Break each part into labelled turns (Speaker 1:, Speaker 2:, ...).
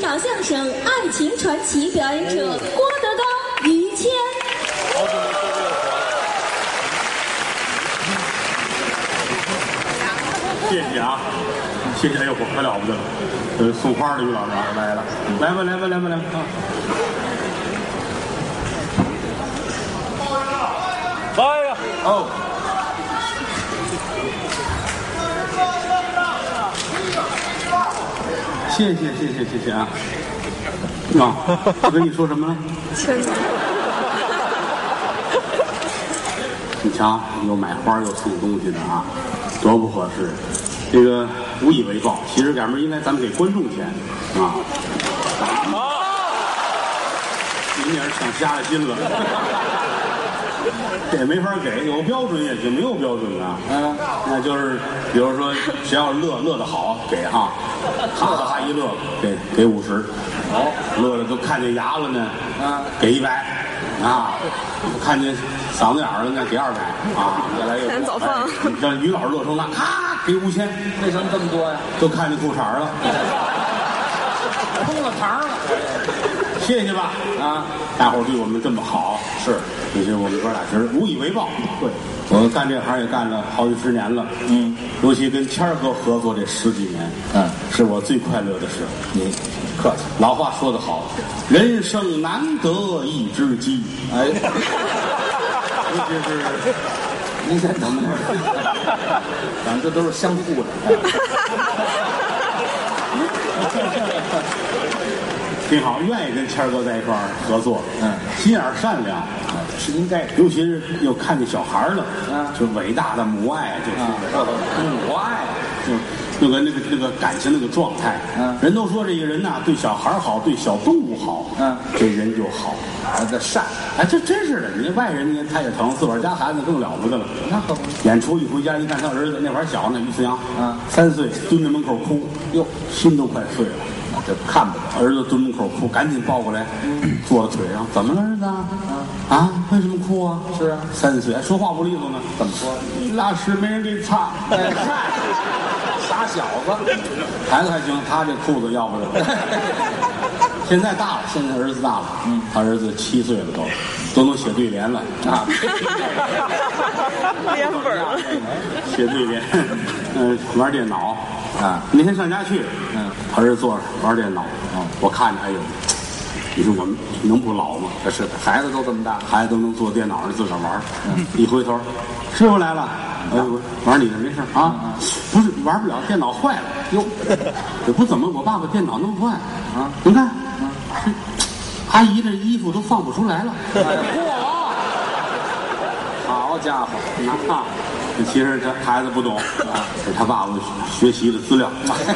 Speaker 1: 场相声《爱情传奇》表演者郭德纲、于谦。
Speaker 2: 好久没说这个话了，谢谢啊，谢谢，哎呦，可了不得了，呃，送花的于老师啊来了，来吧，来吧，来吧，来吧，啊哎呀，哦。谢谢谢谢谢谢啊！啊，我跟你说什么了？你瞧，又买花又送东西的啊，多不合适！这个无以为报，其实赶明儿应该咱们给观众钱啊。您也是想瞎了心了， 这也没法给，有标准也行，没有标准啊。嗯，那就是比如说，谁要是乐乐的好，给哈，哈哈哈一乐，给给五十。哦，乐的都看见牙了呢，嗯，给一百啊，看见嗓子眼儿了呢，给二百啊，越来越
Speaker 3: 咱早放
Speaker 2: 哎你像于老师乐成那，咔给五千，
Speaker 4: 为什么这么多呀？
Speaker 2: 都看见裤衩儿了，
Speaker 4: 空了堂了，
Speaker 2: 谢谢吧啊！大伙儿对我们这么好，是，你这我们哥俩其实无以为报。对，我干这行也干了好几十年了，嗯，尤其跟谦儿哥合作这十几年，
Speaker 4: 嗯，
Speaker 2: 是我最快乐的事。
Speaker 4: 你客气。
Speaker 2: 老话说得好，人生难得一知己，
Speaker 4: 哎，
Speaker 2: 尤其是
Speaker 4: 您先等会儿，咱们这都是相互的。
Speaker 2: 嗯 挺好，愿意跟谦儿哥在一块儿合作，
Speaker 4: 嗯，
Speaker 2: 心眼儿善良，
Speaker 4: 是应该的。
Speaker 2: 尤其是又看见小孩儿了，
Speaker 4: 嗯
Speaker 2: 就伟大的母爱，就是。
Speaker 4: 啊，我爱
Speaker 2: 就那个那个那个感情那个状态，
Speaker 4: 嗯
Speaker 2: 人都说这个人呐、对小孩儿好，对小动物好，
Speaker 4: 嗯
Speaker 2: 这人就好，
Speaker 4: 啊的善，
Speaker 2: 哎，这真是的，你这外人你他也疼，自个儿家孩子更了不得了。
Speaker 4: 那可不。
Speaker 2: 演出一回家一看他儿子那会儿小呢，于思阳，
Speaker 4: 嗯
Speaker 2: 三岁蹲在门口哭，
Speaker 4: 哟，
Speaker 2: 心都快碎了。
Speaker 4: 这看不得。嗯
Speaker 2: 儿子蹲门口哭，赶紧抱过来，坐在腿上，怎么了，儿子？啊，为什么哭啊？
Speaker 4: 是啊
Speaker 2: 三岁还说话不利索呢，
Speaker 4: 怎么说？
Speaker 2: 拉屎没人给擦。
Speaker 4: 哎嗨，傻小子，
Speaker 2: 孩子还行，他这裤子要不得。现在大了，现在儿子大了，嗯，他儿子七岁了都，都能写对联了 啊，
Speaker 3: 连本儿了，
Speaker 2: 写对联， 嗯、玩电脑啊。那天上家去，
Speaker 4: 嗯，
Speaker 2: 他儿子坐着玩电脑，
Speaker 4: 嗯
Speaker 2: 我看着，哎呦，你说我们能不老吗？
Speaker 4: 这呃是的，孩子都这么大了，
Speaker 2: 孩子都能坐电脑上自个儿玩儿，一回头，师傅来了，哎呦，玩你的没事儿啊，不是玩不了，电脑坏了，
Speaker 4: 哟，
Speaker 2: 也不怎么，我爸爸电脑弄坏
Speaker 4: 啊，
Speaker 2: 您看，这阿姨这衣服都放不出来了。
Speaker 4: 嚯，哎好家伙，
Speaker 2: 啊，其实他孩子不懂啊，是他爸爸学习的资料，
Speaker 4: 哎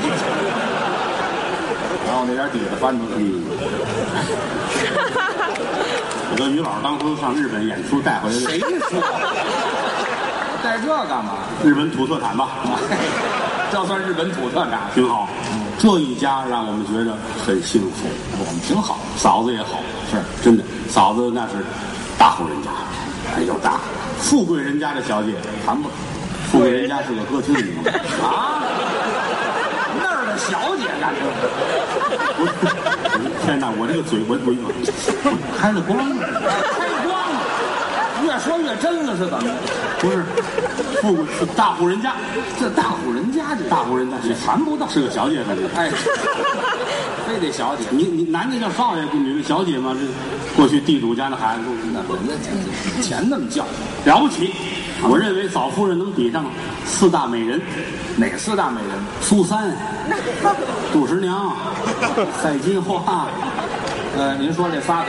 Speaker 2: 然后那点底子翻出来。嗯我跟于老师当初上日本演出带回来的
Speaker 4: 谁说 的？带这干嘛？
Speaker 2: 日本土特 产吧，
Speaker 4: 这算日本土特产，
Speaker 2: 挺好。这一家让我们觉得很幸福，我们挺好。嫂子也好，
Speaker 4: 是
Speaker 2: 真的，嫂子那是大户人家，哎呦大，富贵人家的小姐谈不。富贵人家是个歌厅里 头
Speaker 4: 啊？那儿的小姐干什么？
Speaker 2: 天哪， 我这个嘴，我我我开了光了。
Speaker 4: 开光了，越说越真了是怎么的？
Speaker 2: 不是，富贵是大户人家，
Speaker 4: 这大户人家这
Speaker 2: 大户人家
Speaker 4: 也谈不到，
Speaker 2: 是个小姐，反正。
Speaker 4: 哎，非得小姐，
Speaker 2: 你你男的叫少爷，女的小姐嘛。这过去地主家的孩子
Speaker 4: 那人家以前那么叫，
Speaker 2: 了不起，我认为嫂夫人能比上四大美人：
Speaker 4: 哪四大美人？
Speaker 2: 苏三、杜十 娘、赛金花。
Speaker 4: 呃，您说这仨可，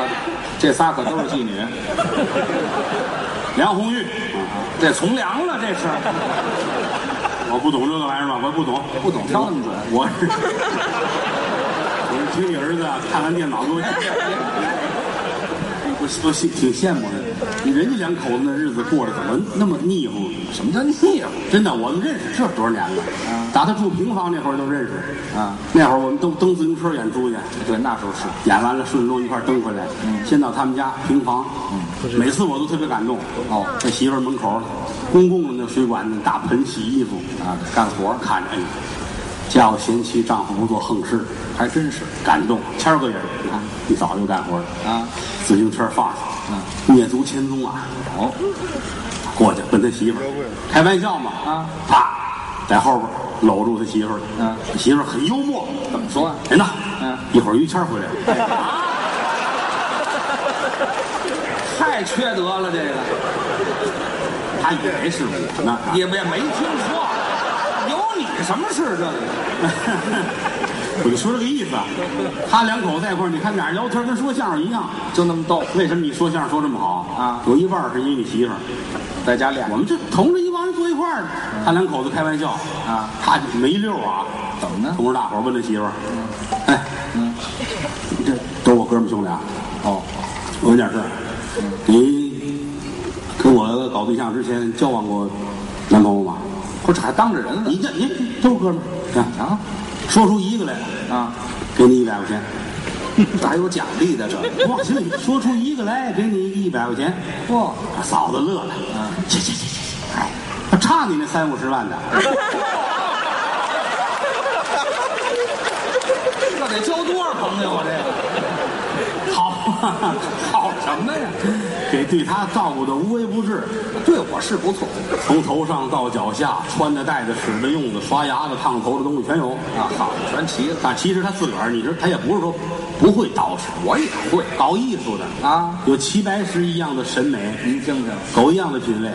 Speaker 4: 这仨可都是妓女，
Speaker 2: 梁红玉，
Speaker 4: 这从良了，这 是
Speaker 2: 我不懂这个玩意儿吧，我不懂，
Speaker 4: 不懂挑那么准。
Speaker 2: 我 是我是听你儿子啊看完 电脑给我我我挺挺羡慕的，人家两口子那日子过得怎么那么腻乎？
Speaker 4: 嗯什么叫腻啊嗯乎？
Speaker 2: 真的，我们认识这多少年了？打他住平房那会儿就认识。
Speaker 4: 啊，
Speaker 2: 那会儿我们都蹬自行车演出去，
Speaker 4: 对，那时候是
Speaker 2: 演完了顺路一块儿蹬回来。
Speaker 3: 嗯
Speaker 2: 先到他们家平房，每次我都特别感动。
Speaker 4: 哦
Speaker 2: 这媳妇儿门口公共的那水管那大盆洗衣服
Speaker 4: 啊，干活
Speaker 2: 看着，哎呦，家有贤妻，丈夫不做横事，
Speaker 3: 还真是
Speaker 2: 感动。谦儿哥也是，你看一早就干活了，
Speaker 3: 啊，嗯
Speaker 2: 自行车放下，灭族千宗啊，
Speaker 3: 哦，
Speaker 2: 过去问他媳妇儿，开玩笑嘛，
Speaker 3: 啊，
Speaker 2: 啪，在后边搂住他媳妇儿，
Speaker 3: 嗯
Speaker 2: 他媳妇儿很幽默，
Speaker 3: 怎么说啊？
Speaker 2: 人呢？
Speaker 3: 嗯
Speaker 2: 一会儿于谦儿回来了，
Speaker 3: 太缺德了，这个
Speaker 2: 他以为是我呢，
Speaker 3: 也也没听说，有你什么事？这个
Speaker 2: 我就说这个意思 啊。他两口子在一块儿，你看俩人聊天跟说相声一样。
Speaker 3: 就那么逗，
Speaker 2: 为什么你说相声说这么好
Speaker 3: 啊
Speaker 2: 有一半儿是因为你媳妇儿。
Speaker 3: 在家练
Speaker 2: 我们这同着一帮人坐一块儿呢，他两口子开玩笑
Speaker 3: 啊，
Speaker 2: 他没溜儿啊。
Speaker 3: 怎么呢？
Speaker 2: 同着大伙儿问他媳妇儿：“哎，你这都是我哥们儿兄俩，
Speaker 3: 哦，
Speaker 2: 我问点事儿，你跟我搞对象之前交往过男朋友吗？
Speaker 3: 不是还当着人了
Speaker 2: 你这你都是哥们儿，啊
Speaker 3: 啊
Speaker 2: 说出一个来，
Speaker 3: 啊！
Speaker 2: 给你一百块钱。” 哎
Speaker 3: 这还有奖励的这？
Speaker 2: 往心里说出一个来，给你一百块钱。
Speaker 3: 哇，
Speaker 2: 嫂子乐了，去去去去去，哎，还差你那三五十万的，
Speaker 3: 这得交多少朋友啊？这
Speaker 2: 好， 好什么呀？给对他照顾的无微不至，
Speaker 3: 个对我是不错
Speaker 2: 从头上到脚下，穿的、戴的、使的、用的、刷牙的、烫头的东西全有
Speaker 3: 啊，好，全齐了，
Speaker 2: 但其实他自个儿，你知道，他也不是说不会捯饬，
Speaker 3: 我也会。
Speaker 2: 搞艺术的
Speaker 3: 啊，
Speaker 2: 有齐白石一样的审美，
Speaker 3: 您听听，
Speaker 2: 狗一样的品味。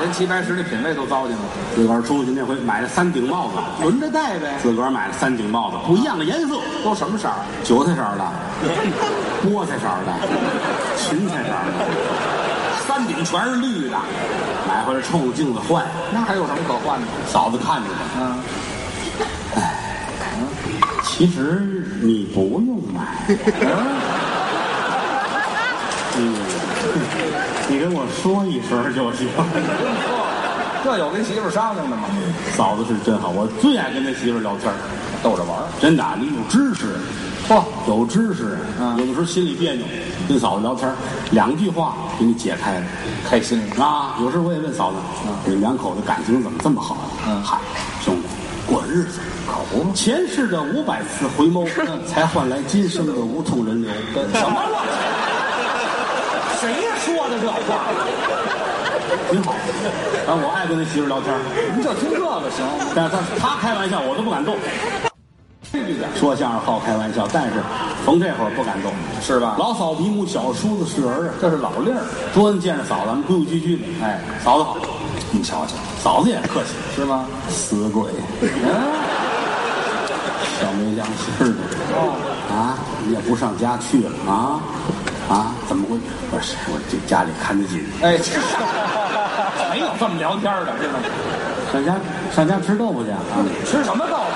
Speaker 3: 人齐白石那品味都糟践了，
Speaker 2: 自个儿出去那回买了三顶帽子，
Speaker 3: 轮着戴呗。
Speaker 2: 自个儿买了三顶帽子，不一样的颜色。
Speaker 3: 都什么色儿？
Speaker 2: 韭菜色儿的，菠菜色儿的，芹菜色儿的，三顶全是绿的。买回来冲着镜子换，
Speaker 3: 那还有什么可换的？
Speaker 2: 嫂子看着呢。
Speaker 3: 嗯，
Speaker 2: 其实你不用买，嗯，你跟我说一声就行。
Speaker 3: 这有跟媳妇儿商量的吗？嗯
Speaker 2: 嫂子是真好，我最爱跟他媳妇儿聊天儿
Speaker 3: 逗着玩儿。
Speaker 2: 真的，你有知识，
Speaker 3: 嚯，
Speaker 2: 有知识，
Speaker 3: 嗯
Speaker 2: 有的时候心里别扭，跟嫂子聊天儿两句话给你解开了。
Speaker 3: 开心。
Speaker 2: 啊，有时候我也问嫂子，你们两口子感情怎么这么好啊？
Speaker 3: 嗯
Speaker 2: 嗨，兄弟，过日子可不，前世的五百次回眸，
Speaker 3: 嗯
Speaker 2: 才换来今生的无痛人流。
Speaker 3: 什么乱七八糟？谁说的这话？
Speaker 2: 挺好。然后我爱跟他媳妇聊天，
Speaker 3: 您就听这个行？
Speaker 2: 但是他他开玩笑，我都不敢动。说相声好开玩笑，但是逢这会儿不敢动。
Speaker 3: 是吧？
Speaker 2: 老嫂比母，小叔子是儿啊。
Speaker 3: 这是老令儿，
Speaker 2: 多见着嫂子，咱们规规矩矩的。
Speaker 3: 哎，
Speaker 2: 嫂子好，
Speaker 3: 你瞧瞧，
Speaker 2: 嫂子也客气。
Speaker 3: 是吗？
Speaker 2: 死鬼，
Speaker 3: 嗯，
Speaker 2: 小没良心的。
Speaker 3: 哦，
Speaker 2: 啊，你也不上家去了啊？啊，怎么会？不是，我这家里看得紧，
Speaker 3: 哎，这是没有这么聊天的，知道吗？
Speaker 2: 上家上家吃豆腐去啊？
Speaker 3: 吃什么豆腐？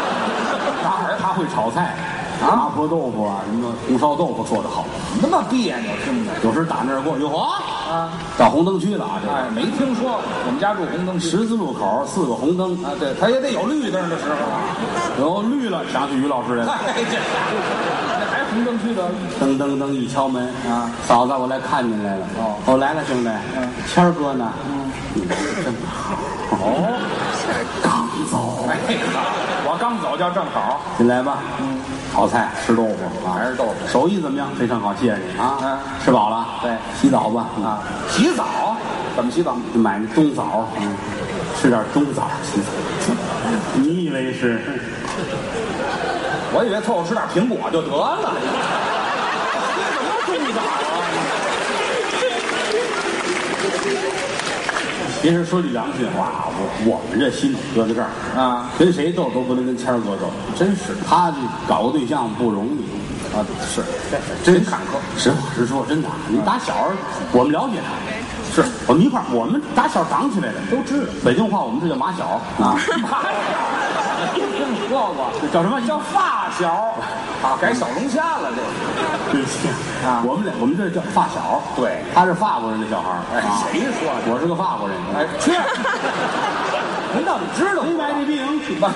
Speaker 2: 他儿他会炒菜，麻婆豆腐啊，什么红烧豆腐做的好。
Speaker 3: 那么别扭，听着。
Speaker 2: 有时打那儿过，哟呵，
Speaker 3: 啊，
Speaker 2: 到红灯区了啊！这个
Speaker 3: 哎，没听说过。我们家住红灯区
Speaker 2: 十字路口四个红灯，
Speaker 3: 啊，对，他也得有绿灯的时候啊。
Speaker 2: 有绿了，想起于老师来了，
Speaker 3: 哎，这那还红灯区的
Speaker 2: 噔噔噔一敲门
Speaker 3: 啊，
Speaker 2: 嫂子，我来看您来了。
Speaker 3: 哦
Speaker 2: 我来了，兄弟。
Speaker 3: 嗯，
Speaker 2: 谦儿哥呢？你这真好，
Speaker 3: 哦，
Speaker 2: 刚走，
Speaker 3: 哎好，我刚走叫正好。
Speaker 2: 进来吧。嗯，炒菜吃豆腐啊，
Speaker 3: 还是豆腐
Speaker 2: 手艺怎么样？非常好，谢谢你啊！
Speaker 3: 嗯
Speaker 2: 吃饱了，
Speaker 3: 对
Speaker 2: 洗澡吧啊，
Speaker 3: 啊，洗澡怎么洗澡？
Speaker 2: 买那冬枣，嗯，吃点冬枣洗澡。你以为是？
Speaker 3: 我以为凑合吃点苹果就得了。
Speaker 2: 其实说句良心话，啊我我们这心里搁在这儿
Speaker 3: 啊，
Speaker 2: 跟谁斗都不能跟谦儿哥斗，真是他这搞个对象不容易。
Speaker 3: 啊，是，
Speaker 2: 真
Speaker 3: 真坎坷。啊
Speaker 2: 实话实说，真的，你打小儿我们了解他，是我们一块儿，我们打小长起来的，都知道。北京话我们这叫马小啊，
Speaker 3: 妈呀，没听说过，
Speaker 2: 这 叫什么？
Speaker 3: 叫发小啊，改小龙虾了这。啊
Speaker 2: 我们俩我们这叫发小，
Speaker 3: 对
Speaker 2: 他是法国人的小孩儿，
Speaker 3: 哎
Speaker 2: 啊，
Speaker 3: 谁说的？
Speaker 2: 我是个法国人，
Speaker 3: 哎，去，您到底知道
Speaker 2: 没
Speaker 3: 不？
Speaker 2: 白这病
Speaker 3: 哎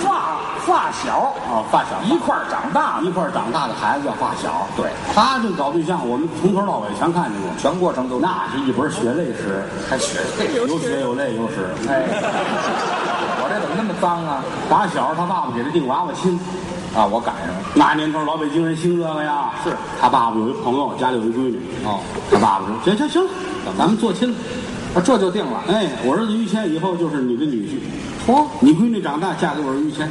Speaker 3: 发发小
Speaker 2: 啊，发小。
Speaker 3: 一块儿长大的，
Speaker 2: 一块儿长大的孩子叫发小，
Speaker 3: 对
Speaker 2: 他这搞对象，我们从头到尾全看见过，
Speaker 3: 全过程都
Speaker 2: 那是一本血泪史，
Speaker 3: 还学
Speaker 2: 有血有泪有史。
Speaker 3: 哎，我这怎么么那么脏啊？
Speaker 2: 打小他爸爸给他定娃娃亲，
Speaker 3: 啊，我赶上了。
Speaker 2: 那年头老北京人兴这个呀。
Speaker 3: 是
Speaker 2: 他爸爸有一朋友，家里有一闺女，
Speaker 3: 哦，
Speaker 2: 他爸爸说行行行，咱们做亲。
Speaker 3: 啊，这就定了。
Speaker 2: 哎，我儿子于谦以后就是你的女婿，
Speaker 3: 嚯、嗯
Speaker 2: 你闺女长大嫁给我儿子于谦，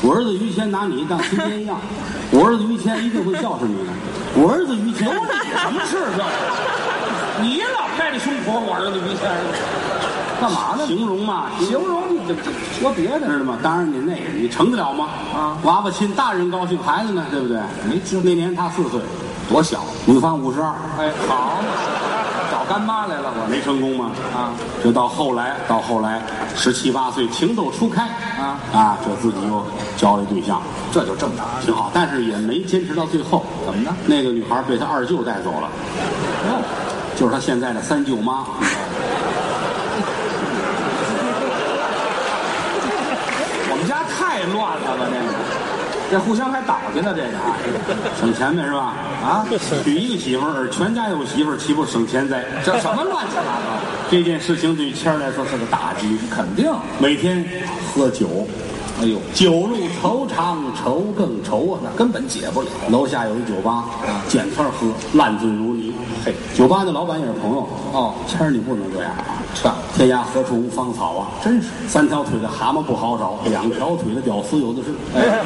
Speaker 2: 我儿子于谦拿你当亲爹一样，我儿子于谦一定会孝顺你的，我儿子于谦。
Speaker 3: 什么事这？你老拍着胸脯，我儿子于谦干嘛呢？
Speaker 2: 形容嘛，
Speaker 3: 形容你这这说别的
Speaker 2: 知道吗？当然你那个你成得了吗？
Speaker 3: 啊
Speaker 2: 娃娃亲，大人高兴，孩子呢，对不对？
Speaker 3: 没知
Speaker 2: 那年他四岁，
Speaker 3: 多小。
Speaker 2: 女方五十二，
Speaker 3: 哎，好嘛，找干妈来了我
Speaker 2: 没成功嘛。
Speaker 3: 啊，
Speaker 2: 这到后来，到后来十七八岁，情窦初开
Speaker 3: 啊
Speaker 2: 啊，这自己又交了一对象，
Speaker 3: 这就正常。
Speaker 2: 挺好，但是也没坚持到最后。
Speaker 3: 怎么呢？
Speaker 2: 那个女孩被他二舅带走了，
Speaker 3: 哦，
Speaker 2: 就是他现在的三舅妈。啊
Speaker 3: 我们家太乱了吧这个，这互相还倒去呢这个啊
Speaker 2: 省钱呗，是吧？
Speaker 3: 啊，
Speaker 2: 娶一个媳妇儿，全家有媳妇儿，岂不省钱哉？
Speaker 3: 这什么乱七八糟？
Speaker 2: 这件事情对于谦儿来说是个打击，
Speaker 3: 肯定。
Speaker 2: 每天喝酒，
Speaker 3: 哎呦，
Speaker 2: 酒路愁肠愁更愁啊！
Speaker 3: 根本解不了。
Speaker 2: 楼下有一酒吧，
Speaker 3: 啊
Speaker 2: 捡天儿喝，烂醉如泥。嘿，酒吧的老板也是朋友
Speaker 3: 哦
Speaker 2: 谦儿你不能这样啊！
Speaker 3: 劝我，
Speaker 2: 天涯何处无芳草啊！
Speaker 3: 真是。
Speaker 2: 三条腿的蛤蟆不好找，两条腿的屌丝有的是。
Speaker 3: 哎，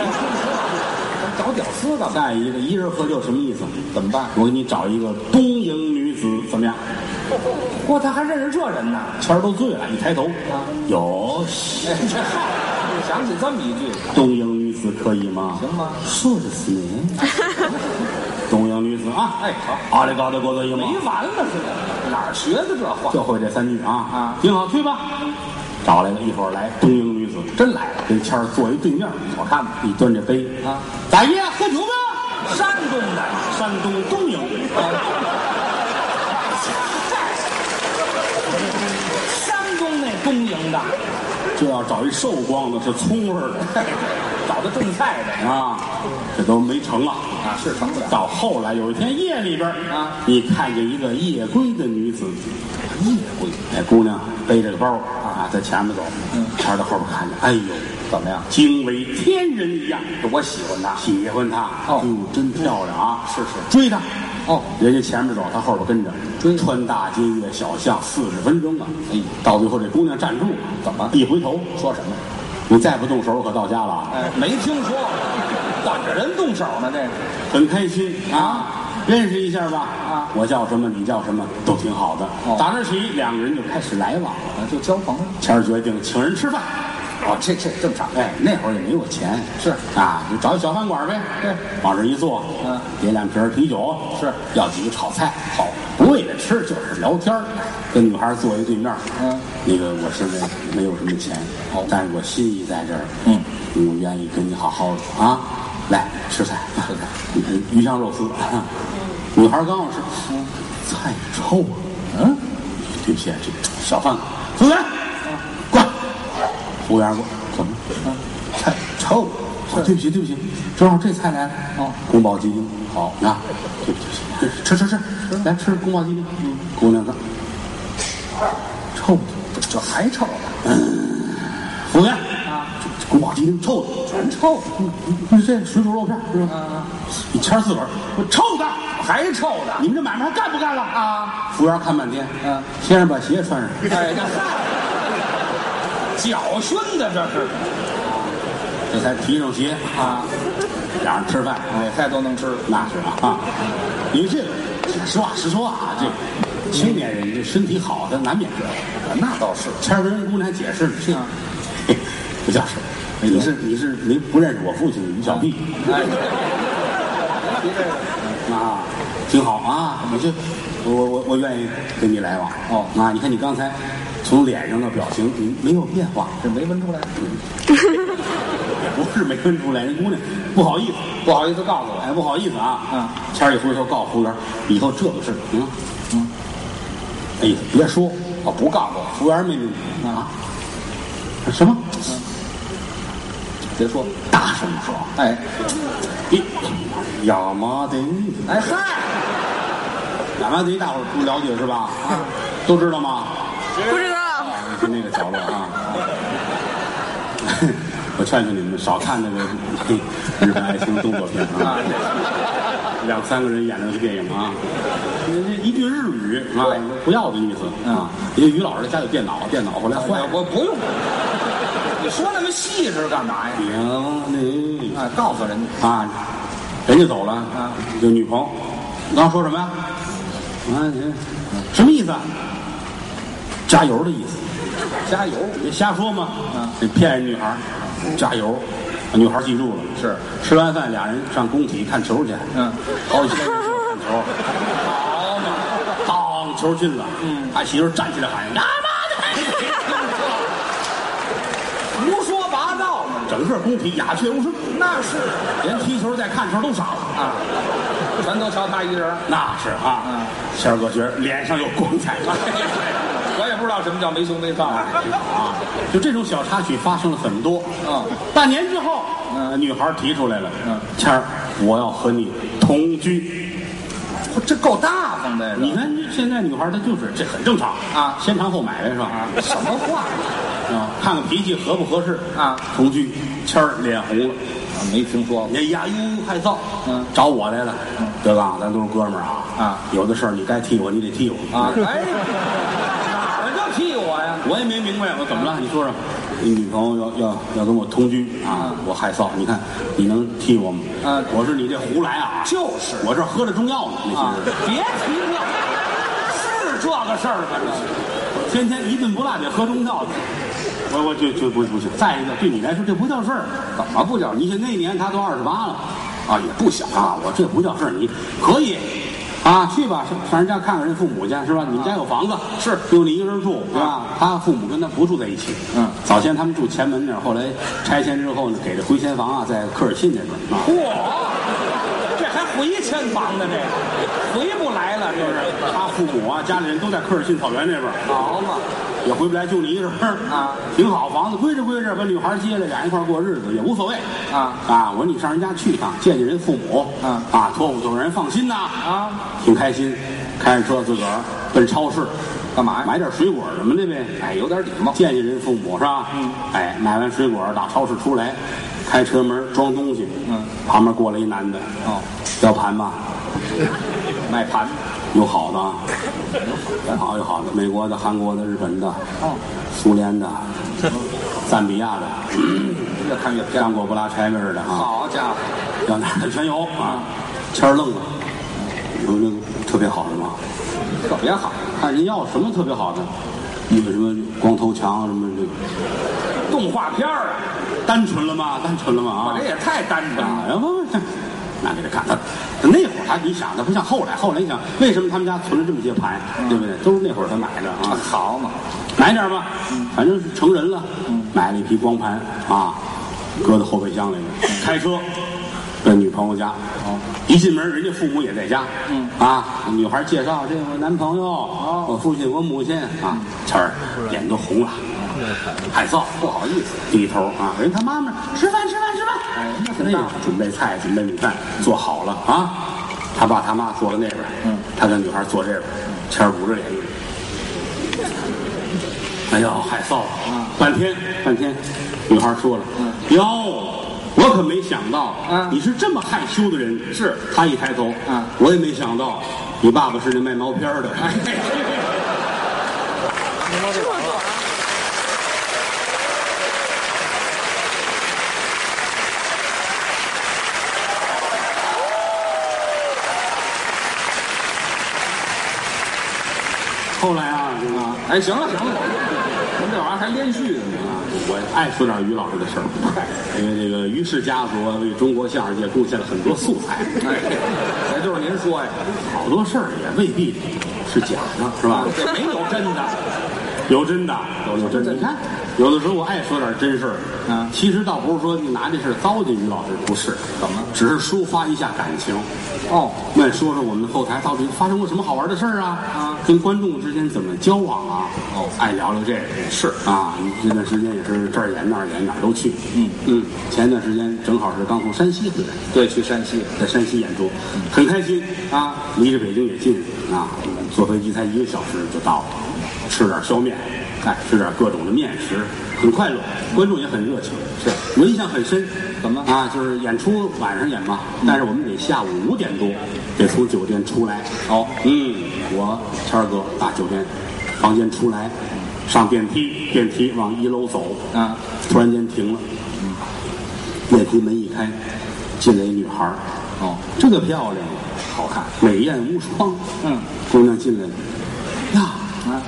Speaker 3: 找屌丝干嘛？
Speaker 2: 再一个，一人喝酒什么意思？
Speaker 3: 怎么办？
Speaker 2: 我给你找一个东瀛女子，怎么样？
Speaker 3: 嚯，他还认识这人呢？
Speaker 2: 谦儿都醉了，一抬头，
Speaker 3: 啊
Speaker 2: 有
Speaker 3: 哎，这嗨，想起这么一句，
Speaker 2: 东瀛女子可以吗？
Speaker 3: 行吗？
Speaker 2: 说的是你， 东瀛女子啊，
Speaker 3: 哎，好，
Speaker 2: 阿里嘎多国的英
Speaker 3: 没
Speaker 2: 吗？
Speaker 3: 完了似的，哪儿学的这话？
Speaker 2: 就会这三句啊
Speaker 3: 啊
Speaker 2: 挺好，去吧。找来了一会儿来，东瀛女子
Speaker 3: 真来了，
Speaker 2: 跟谦儿坐一对面，好看吗？一端着杯
Speaker 3: 啊，
Speaker 2: 大爷喝酒吧。
Speaker 3: 山东的，
Speaker 2: 山东东营，
Speaker 3: 山东那东营的，
Speaker 2: 这要找一寿光的，是葱味儿
Speaker 3: 找的种菜的
Speaker 2: 的啊，这都没成了。
Speaker 3: 啊，是成不了。
Speaker 2: 到后来有一天夜里边儿
Speaker 3: 啊
Speaker 2: 你看见一个夜归的女子，
Speaker 3: 夜归
Speaker 2: 那姑娘背着个包啊，在前面走，谦儿在后边看着，哎呦，
Speaker 3: 嗯怎么样？
Speaker 2: 惊为天人一样，
Speaker 3: 我喜欢他。
Speaker 2: 喜欢她，
Speaker 3: 哦
Speaker 2: 嗯，真漂亮啊！
Speaker 3: 是是
Speaker 2: 追她，
Speaker 3: 哦，
Speaker 2: 人家前面走，她后边跟着，
Speaker 3: 追
Speaker 2: 穿大街越小巷，四十分钟啊！
Speaker 3: 哎
Speaker 2: 到最后这姑娘站住了，
Speaker 3: 怎么
Speaker 2: 一回头
Speaker 3: 说什么？
Speaker 2: 你再不动手，我可到家了啊，
Speaker 3: 哎，没听说过，等着人动手呢，这个
Speaker 2: 很开心啊
Speaker 3: 啊。
Speaker 2: 认识一下吧，
Speaker 3: 啊
Speaker 2: 我叫什么，你叫什么，都挺好的。
Speaker 3: 哦
Speaker 2: 打那起，两个人就开始来往了。
Speaker 3: 啊，就交朋友。
Speaker 2: 谦儿决定请人吃饭，
Speaker 3: 哦，这这正常。
Speaker 2: 哎，那会儿也没有钱，
Speaker 3: 是
Speaker 2: 啊，就找一小饭馆呗，哎
Speaker 3: 对，
Speaker 2: 往这一坐，
Speaker 3: 嗯，
Speaker 2: 点两瓶啤酒，
Speaker 3: 是
Speaker 2: 要几个炒菜，好，不为了吃，就是聊天儿跟女孩坐一对面，
Speaker 3: 嗯，
Speaker 2: 那个我现在没有什么钱，
Speaker 3: 哦
Speaker 2: 但是我心意在这儿，
Speaker 3: 嗯，
Speaker 2: 我愿意跟你好好的啊，来吃菜，
Speaker 3: 吃菜
Speaker 2: 嗯，鱼香肉丝，女孩刚要吃，菜臭啊，
Speaker 3: 嗯，
Speaker 2: 对不起，啊这小贩子，服务员，过来，服务员过来，怎么？了？菜 臭，哦对不起，对不起，正好这菜来了。
Speaker 3: 哦，
Speaker 2: 宫保鸡丁，好啊，对不起，对不起吃吃吃，来吃宫保鸡丁。嗯，姑娘看，臭的，
Speaker 3: 这这还臭呢，
Speaker 2: 服务员啊，这宫保鸡丁臭的，
Speaker 3: 全臭，啊
Speaker 2: 嗯这水煮肉片是吧？一千四本，我臭的，
Speaker 3: 还臭呢。
Speaker 2: 你们这买卖还干不干了啊？
Speaker 3: 啊，
Speaker 2: 服务员看半天，
Speaker 3: 嗯，
Speaker 2: 先生把鞋穿上。
Speaker 3: 哎，这嗨，搅熏的这是
Speaker 2: 这才提上鞋，
Speaker 3: 啊，
Speaker 2: 俩人吃饭，
Speaker 3: 哎，菜都能吃，
Speaker 2: 那是啊啊，因为这个，实话实说啊，这青年人这身体好，他难免这个。
Speaker 3: 那倒是
Speaker 2: 前儿跟人姑娘解释呢，
Speaker 3: 是啊，
Speaker 2: 嘿 不叫事儿，你是你是没不认识我父亲于小碧
Speaker 3: 哎，别这个，
Speaker 2: 啊，挺好啊，你这我我我愿意跟你来往
Speaker 3: 哦
Speaker 2: 啊，你看你刚才从脸上的表情，你没有变化，
Speaker 3: 这没闻出来，
Speaker 2: 也 不是没分出来，人姑娘不好意思，
Speaker 3: 不好意思告诉我，
Speaker 2: 哎，不好意思啊，
Speaker 3: 嗯，
Speaker 2: 谦儿一回头告诉服务员，以后这个事儿，嗯嗯，哎呀，别说，
Speaker 3: 我不告诉我，
Speaker 2: 服务员没明白啊？什么？
Speaker 3: 别说，
Speaker 2: 大声说！
Speaker 3: 哎，
Speaker 2: 你亚麻得，
Speaker 3: 哎嗨，
Speaker 2: 亚麻得，大伙儿都了解是吧？啊都知道吗？哦
Speaker 5: 不知道。
Speaker 2: 就那个角落啊。 我劝劝你们少看那个嘿日本爱情动作片啊，两三个人演那个电影啊，那一句日语啊
Speaker 4: 对，
Speaker 2: 不要的意思啊。因为于老师家有电脑，电脑后来坏
Speaker 4: 我
Speaker 2: 了。
Speaker 4: 我不用，你说那么细致干嘛呀？
Speaker 2: 你
Speaker 4: 啊，告诉人家
Speaker 2: 啊，人家走了，
Speaker 4: 啊，
Speaker 2: 有女朋友，你刚说什么呀？啊，你什么意思啊？加油的意思，
Speaker 4: 加油，
Speaker 2: 你瞎说吗？
Speaker 4: 啊，
Speaker 2: 你骗人女孩儿，加油，女孩儿记住了。
Speaker 4: 是，
Speaker 2: 吃完饭俩人上工体看球去，
Speaker 4: 嗯，
Speaker 2: 好几千人去看球，好嘛，当球进了，嗯，俺媳妇儿站起来喊啊
Speaker 4: 胡说八道呢，
Speaker 2: 整个工体鸦雀无声，
Speaker 4: 那是
Speaker 2: 连踢球带看球都傻了。
Speaker 4: 啊，全都瞧他一人。
Speaker 2: 那是啊，
Speaker 4: 嗯
Speaker 2: 仙儿哥觉得脸上有光彩。
Speaker 4: 我也不知道什么叫没羞没臊。
Speaker 2: 啊，就这种小插曲发生了很多。
Speaker 4: 嗯，
Speaker 2: 半年之后，
Speaker 4: 嗯
Speaker 2: 呃女孩提出来了，
Speaker 4: 嗯，
Speaker 2: 谦儿，我要和你同居。
Speaker 4: 这够大方的
Speaker 2: 你
Speaker 4: 呀！
Speaker 2: 看这现在女孩她就是这很正常
Speaker 4: 啊
Speaker 2: 先尝后买呗是吧？
Speaker 4: 这什么话
Speaker 2: 啊，看看脾气合不合适
Speaker 4: 啊，
Speaker 2: 同居。谦儿脸红了，
Speaker 4: 没听说过
Speaker 2: 哎呀，呦害臊，
Speaker 4: 嗯，
Speaker 2: 找我来了，德刚，咱都是哥们儿啊，
Speaker 4: 啊，
Speaker 2: 有的事儿你该替我，你得替我
Speaker 4: 啊！哎，哪儿就替我呀？
Speaker 2: 我也没明白，我怎么了？你说说，你女朋友要要要跟我同居啊？我害臊，你看你能替我吗？
Speaker 4: 啊
Speaker 2: 我是你这胡来啊！
Speaker 4: 就是
Speaker 2: 我这喝着中药呢，你
Speaker 4: 啊
Speaker 2: 寻思，
Speaker 4: 别提这个，是这个事儿吗？
Speaker 2: 天天一顿不落得喝中药去。我我就就不不行。再一个，对你来说这不叫事儿，怎么不叫？你想那年他都二十八了，啊也不小啊，我这不叫事儿，你可以。啊，去吧，上上人家看看人父母去，是吧？你们家有房子，是就你一个人住，对吧？他父母跟他不住在一起，
Speaker 4: 嗯
Speaker 2: 早先他们住前门那儿，后来拆迁之后呢，给的回迁房啊，在科尔沁那边啊。
Speaker 4: 嚯，这还回迁房呢，这个回不来了，这是。
Speaker 2: 他父母啊，家里人都在科尔沁草原那边儿，
Speaker 4: 好嘛，
Speaker 2: 也回不来，就你一个人儿
Speaker 4: 啊，
Speaker 2: 挺好，房子归置归置，把女孩接来，俩人一块儿过日子也无所谓
Speaker 4: 啊
Speaker 2: 啊！我说你上人家去一趟，见见人父母，
Speaker 4: 嗯
Speaker 2: 啊，托付托付人放心呐
Speaker 4: 啊，
Speaker 2: 挺开心，开着车自个儿奔超市。
Speaker 4: 干嘛呀？
Speaker 2: 买点水果什么的呗，哎，有点礼貌，见见人父母是吧？嗯，哎，买完水果打超市出来，开车门装东西，
Speaker 4: 嗯，
Speaker 2: 旁边过来一男的，
Speaker 4: 哦，
Speaker 2: 要 盘吗？
Speaker 4: 卖盘
Speaker 2: 有好的啊，有好有好的，美国的、韩国的、日本的，
Speaker 4: 哦，
Speaker 2: 苏 联的，赞比亚的，
Speaker 4: 越看越偏。
Speaker 2: 干果不拉柴味儿的啊，
Speaker 4: 好家伙，
Speaker 2: 要哪儿的全有啊。谦儿愣了，有那个特别好的吗？
Speaker 4: 特别好，
Speaker 2: 看人要什么特别好的，那个什么光头强什么这
Speaker 4: 动画片儿啊，
Speaker 2: 个，单纯了吗？单纯了吗？啊
Speaker 4: 我这，也太单纯了。
Speaker 2: 啊，要不不，那给他看他。那会儿他，你想，他不像后来，后来你想，为什么他们家存了这么些盘，对不对？都是那会儿他买的
Speaker 3: 嗯
Speaker 2: 啊。
Speaker 4: 好嘛，
Speaker 2: 买点吧，反正是成人了，买了一批光盘啊，搁到后备箱里了。开车奔女朋友家，一进门人家父母也在家，啊，女孩介绍这我男朋友，哦我父亲我母亲啊，谦儿脸都红了，害臊不好意思，低头啊，人他妈妈吃饭吃饭吃饭，
Speaker 4: 哎那很
Speaker 2: 那
Speaker 4: 大
Speaker 2: 个准备菜准备米饭做好了啊，他爸他妈坐在那边，他跟女孩坐这边，谦儿捂着脸。哎呦，害臊了！半天半天，女孩说了：“哟，我可没想到，
Speaker 4: 嗯
Speaker 2: 你是这么害羞的人。”是，他一抬头，
Speaker 4: 嗯
Speaker 2: 我也没想到，你爸爸是那卖毛片 儿的。后来啊，这个
Speaker 4: 哎，行了行了，您这玩意儿还连续的 呢。
Speaker 2: 我爱说点于老师的 事儿，因为这个于氏家族啊为中国相声界贡献了很多素材，
Speaker 4: 哎，这就是您说呀，
Speaker 2: 好多事儿也未必是假的，是吧？
Speaker 4: 啊这没有真的。
Speaker 2: 有真的，有有真
Speaker 4: 真
Speaker 2: 的。
Speaker 4: 的
Speaker 2: 你看，有的时候我爱说点真事儿，
Speaker 4: 嗯
Speaker 2: 其实倒不是说拿这事儿糟践于老师，不是，
Speaker 4: 怎么
Speaker 2: 只是抒发一下感情。
Speaker 4: 哦，
Speaker 2: 那说说我们后台到底发生过什么好玩的事儿啊？
Speaker 4: 啊
Speaker 2: 跟观众之间怎么交往啊？
Speaker 4: 哦
Speaker 2: 爱聊聊这个是啊。这段时间也是这儿演那儿演，哪儿都去。嗯嗯，前段时间正好是刚从山西回来，
Speaker 4: 对，去山西
Speaker 2: 在山西演出，很开心啊。离着北京也近啊，坐飞机才一个小时就到了，吃点儿烧面，哎，吃点儿各种的面食，很快乐，观众也很热情。是我印象很深，怎么嗯啊？就是演出晚上演嘛，但是我们得下午五点多得从酒店出来。哦，嗯，我谦儿哥打酒店房间出来，上电梯，电梯往一楼走，
Speaker 4: 啊，
Speaker 2: 突然间停了，电梯门一开，进来一女孩儿
Speaker 4: 哦，
Speaker 2: 这个漂亮，
Speaker 4: 好看，
Speaker 2: 美艳无双。
Speaker 4: 嗯，
Speaker 2: 姑娘进来了，呀，
Speaker 4: 啊，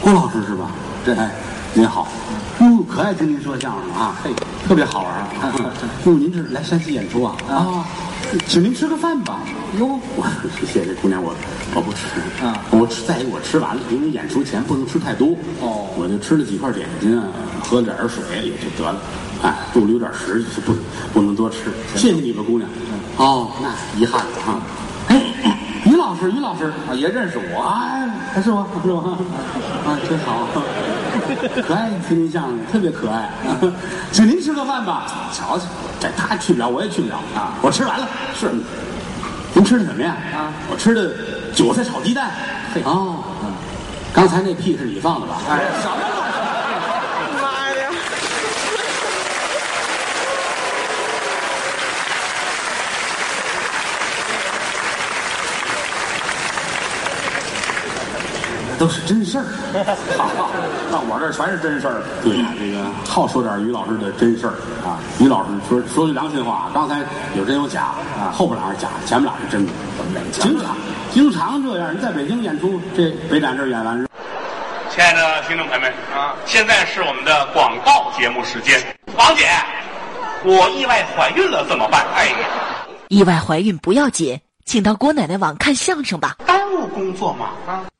Speaker 2: 郭老师是吧？
Speaker 4: 对
Speaker 2: 哎，您好，嗯，可爱听您说相声了啊，
Speaker 4: 嘿，
Speaker 2: 特别好玩 啊。嗯，您是来山西演出啊？
Speaker 4: 啊，
Speaker 2: 请您吃个饭吧。
Speaker 4: 哟，
Speaker 2: 我说谢谢这姑娘，我我不吃
Speaker 4: 啊
Speaker 2: 我吃再一我吃完了，因为演出前不能吃太多
Speaker 4: 哦
Speaker 2: 我就吃了几块点心啊，喝了点儿水也就得了，哎，肚里有点实，就是不不能多吃。谢谢你吧，姑娘。
Speaker 4: 嗯
Speaker 2: 哦，那遗憾了哈。哎，于老师，于老师，
Speaker 4: 啊，也认识我，
Speaker 2: 啊，是吗？是吗？啊，真好，可爱，听您相声特别可爱。请您吃个饭吧，瞧瞧，这他去不了，我也去不了啊。我吃完了，是。您吃的什么呀？
Speaker 4: 啊，
Speaker 2: 我吃的韭菜炒鸡蛋。
Speaker 4: 嘿
Speaker 2: 哦，刚才那屁是你放的吧？
Speaker 4: 哎，什么乱七八糟
Speaker 3: 妈呀！
Speaker 2: 都是真 事儿。
Speaker 4: 好，到我这儿全是真事儿。
Speaker 2: 对哎呀、这个好说点于老师的真事儿啊。于老师说说句良心话，刚才有真有假啊，后边俩是假，前面俩是真的。
Speaker 4: 怎么两
Speaker 2: 经常经常这样，你在北京演出，这北展这儿演完之后，
Speaker 6: 亲爱的听众朋友们
Speaker 4: 啊
Speaker 6: 现在是我们的广告节目时间。王姐，我意外怀孕了，怎么办？哎呀，
Speaker 7: 意外怀孕不要紧，请到郭奶奶网看相声吧，
Speaker 6: 耽误工作嘛。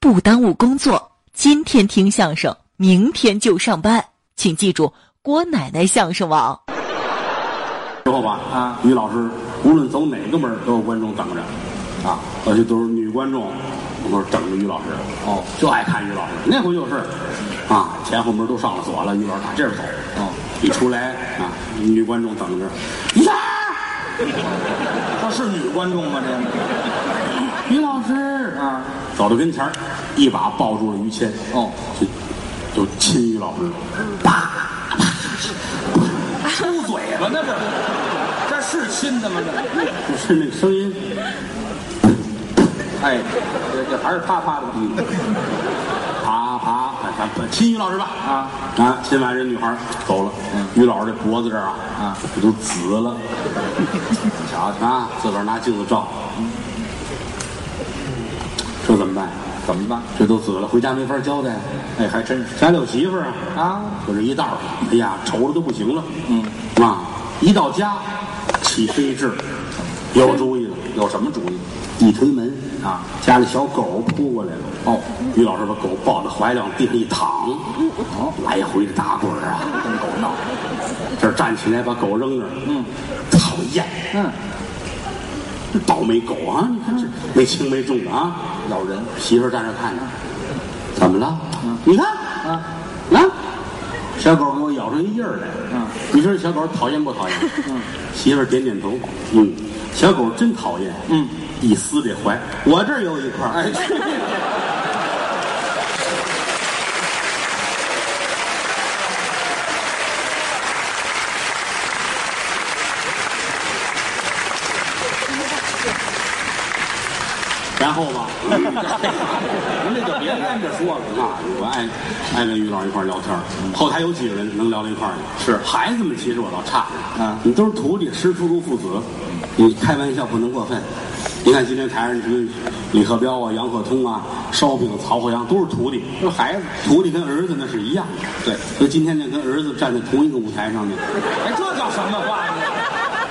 Speaker 7: 不耽误工作。今天听相声，明天就上班，请记住郭奶奶相声网。
Speaker 2: 之后吧，
Speaker 4: 啊
Speaker 2: 于老师无论走哪个门儿都有观众等着，啊，而且都是女观众，我说等着于老师，
Speaker 4: 哦，
Speaker 2: 就爱看于老师。那回就是，啊，前后门都上了锁了，于老师打这边走，
Speaker 4: 哦，
Speaker 2: 一出来啊，女观众等着，呀，
Speaker 4: 这是女观众吗？这
Speaker 2: 于老师
Speaker 4: 个，啊，
Speaker 2: 走到跟前儿，一把抱住了于谦，
Speaker 4: 哦，
Speaker 2: 就就亲于老师，啪啪，
Speaker 4: 嘟嘴巴那这，这是亲的吗？这，
Speaker 2: 就是那个声音。
Speaker 4: 哎，这这还是啪啪的吧。
Speaker 3: 嗯
Speaker 2: 爬爬，咱咱亲于老师吧，
Speaker 4: 啊嗯
Speaker 2: 啊，亲完这女孩儿走了，于老师这脖子这儿啊，
Speaker 4: 啊，
Speaker 2: 这都紫了，瞧瞧啊，自个儿拿镜子照，这怎么办？
Speaker 4: 怎么办？
Speaker 2: 这都紫了，回家没法交代，
Speaker 4: 哎，还真是
Speaker 2: 家里有媳妇儿啊，
Speaker 4: 啊，
Speaker 2: 就这一道儿，哎呀，愁的都不行了，嗯，啊，一到家起飞智，有主意了，
Speaker 4: 有什么主意？
Speaker 2: 一推门
Speaker 4: 啊，
Speaker 2: 家里小狗扑过来了。哦，于老师把狗抱在怀里，往地上一躺，哦，来回的打滚儿啊，跟狗闹。这儿站起来把狗扔那儿，嗯，讨厌，
Speaker 4: 嗯，
Speaker 2: 这倒霉狗啊！你看这没轻没重的啊，
Speaker 4: 咬人。
Speaker 2: 媳妇儿站这看着，怎么了？你看
Speaker 4: 啊
Speaker 2: 啊，小狗给我咬出一印儿来。
Speaker 4: 嗯，
Speaker 2: 你说这小狗讨厌不讨厌？嗯，媳妇儿点点头。嗯，小狗真讨厌。嗯，一撕这怀，我这儿有一块儿。
Speaker 4: 哎，去
Speaker 2: 然后 吧，
Speaker 4: 您这就别挨着说 了。
Speaker 2: 啊，我爱爱跟于老师一块儿聊天儿后台有几个人能聊到一块儿去？
Speaker 4: 是
Speaker 2: 孩子们，其实我倒差着。
Speaker 4: 啊
Speaker 2: 你都是徒弟，师出如父子，你开玩笑不能过分。你看今天台上什么李鹤彪啊、杨鹤通啊、烧饼、曹鹤阳都是徒弟，
Speaker 4: 这孩子，
Speaker 2: 徒弟跟儿子那是一样的。
Speaker 4: 对，
Speaker 2: 所以今天呢，跟儿子站在同一个舞台上面，
Speaker 4: 哎，这叫什么话呢？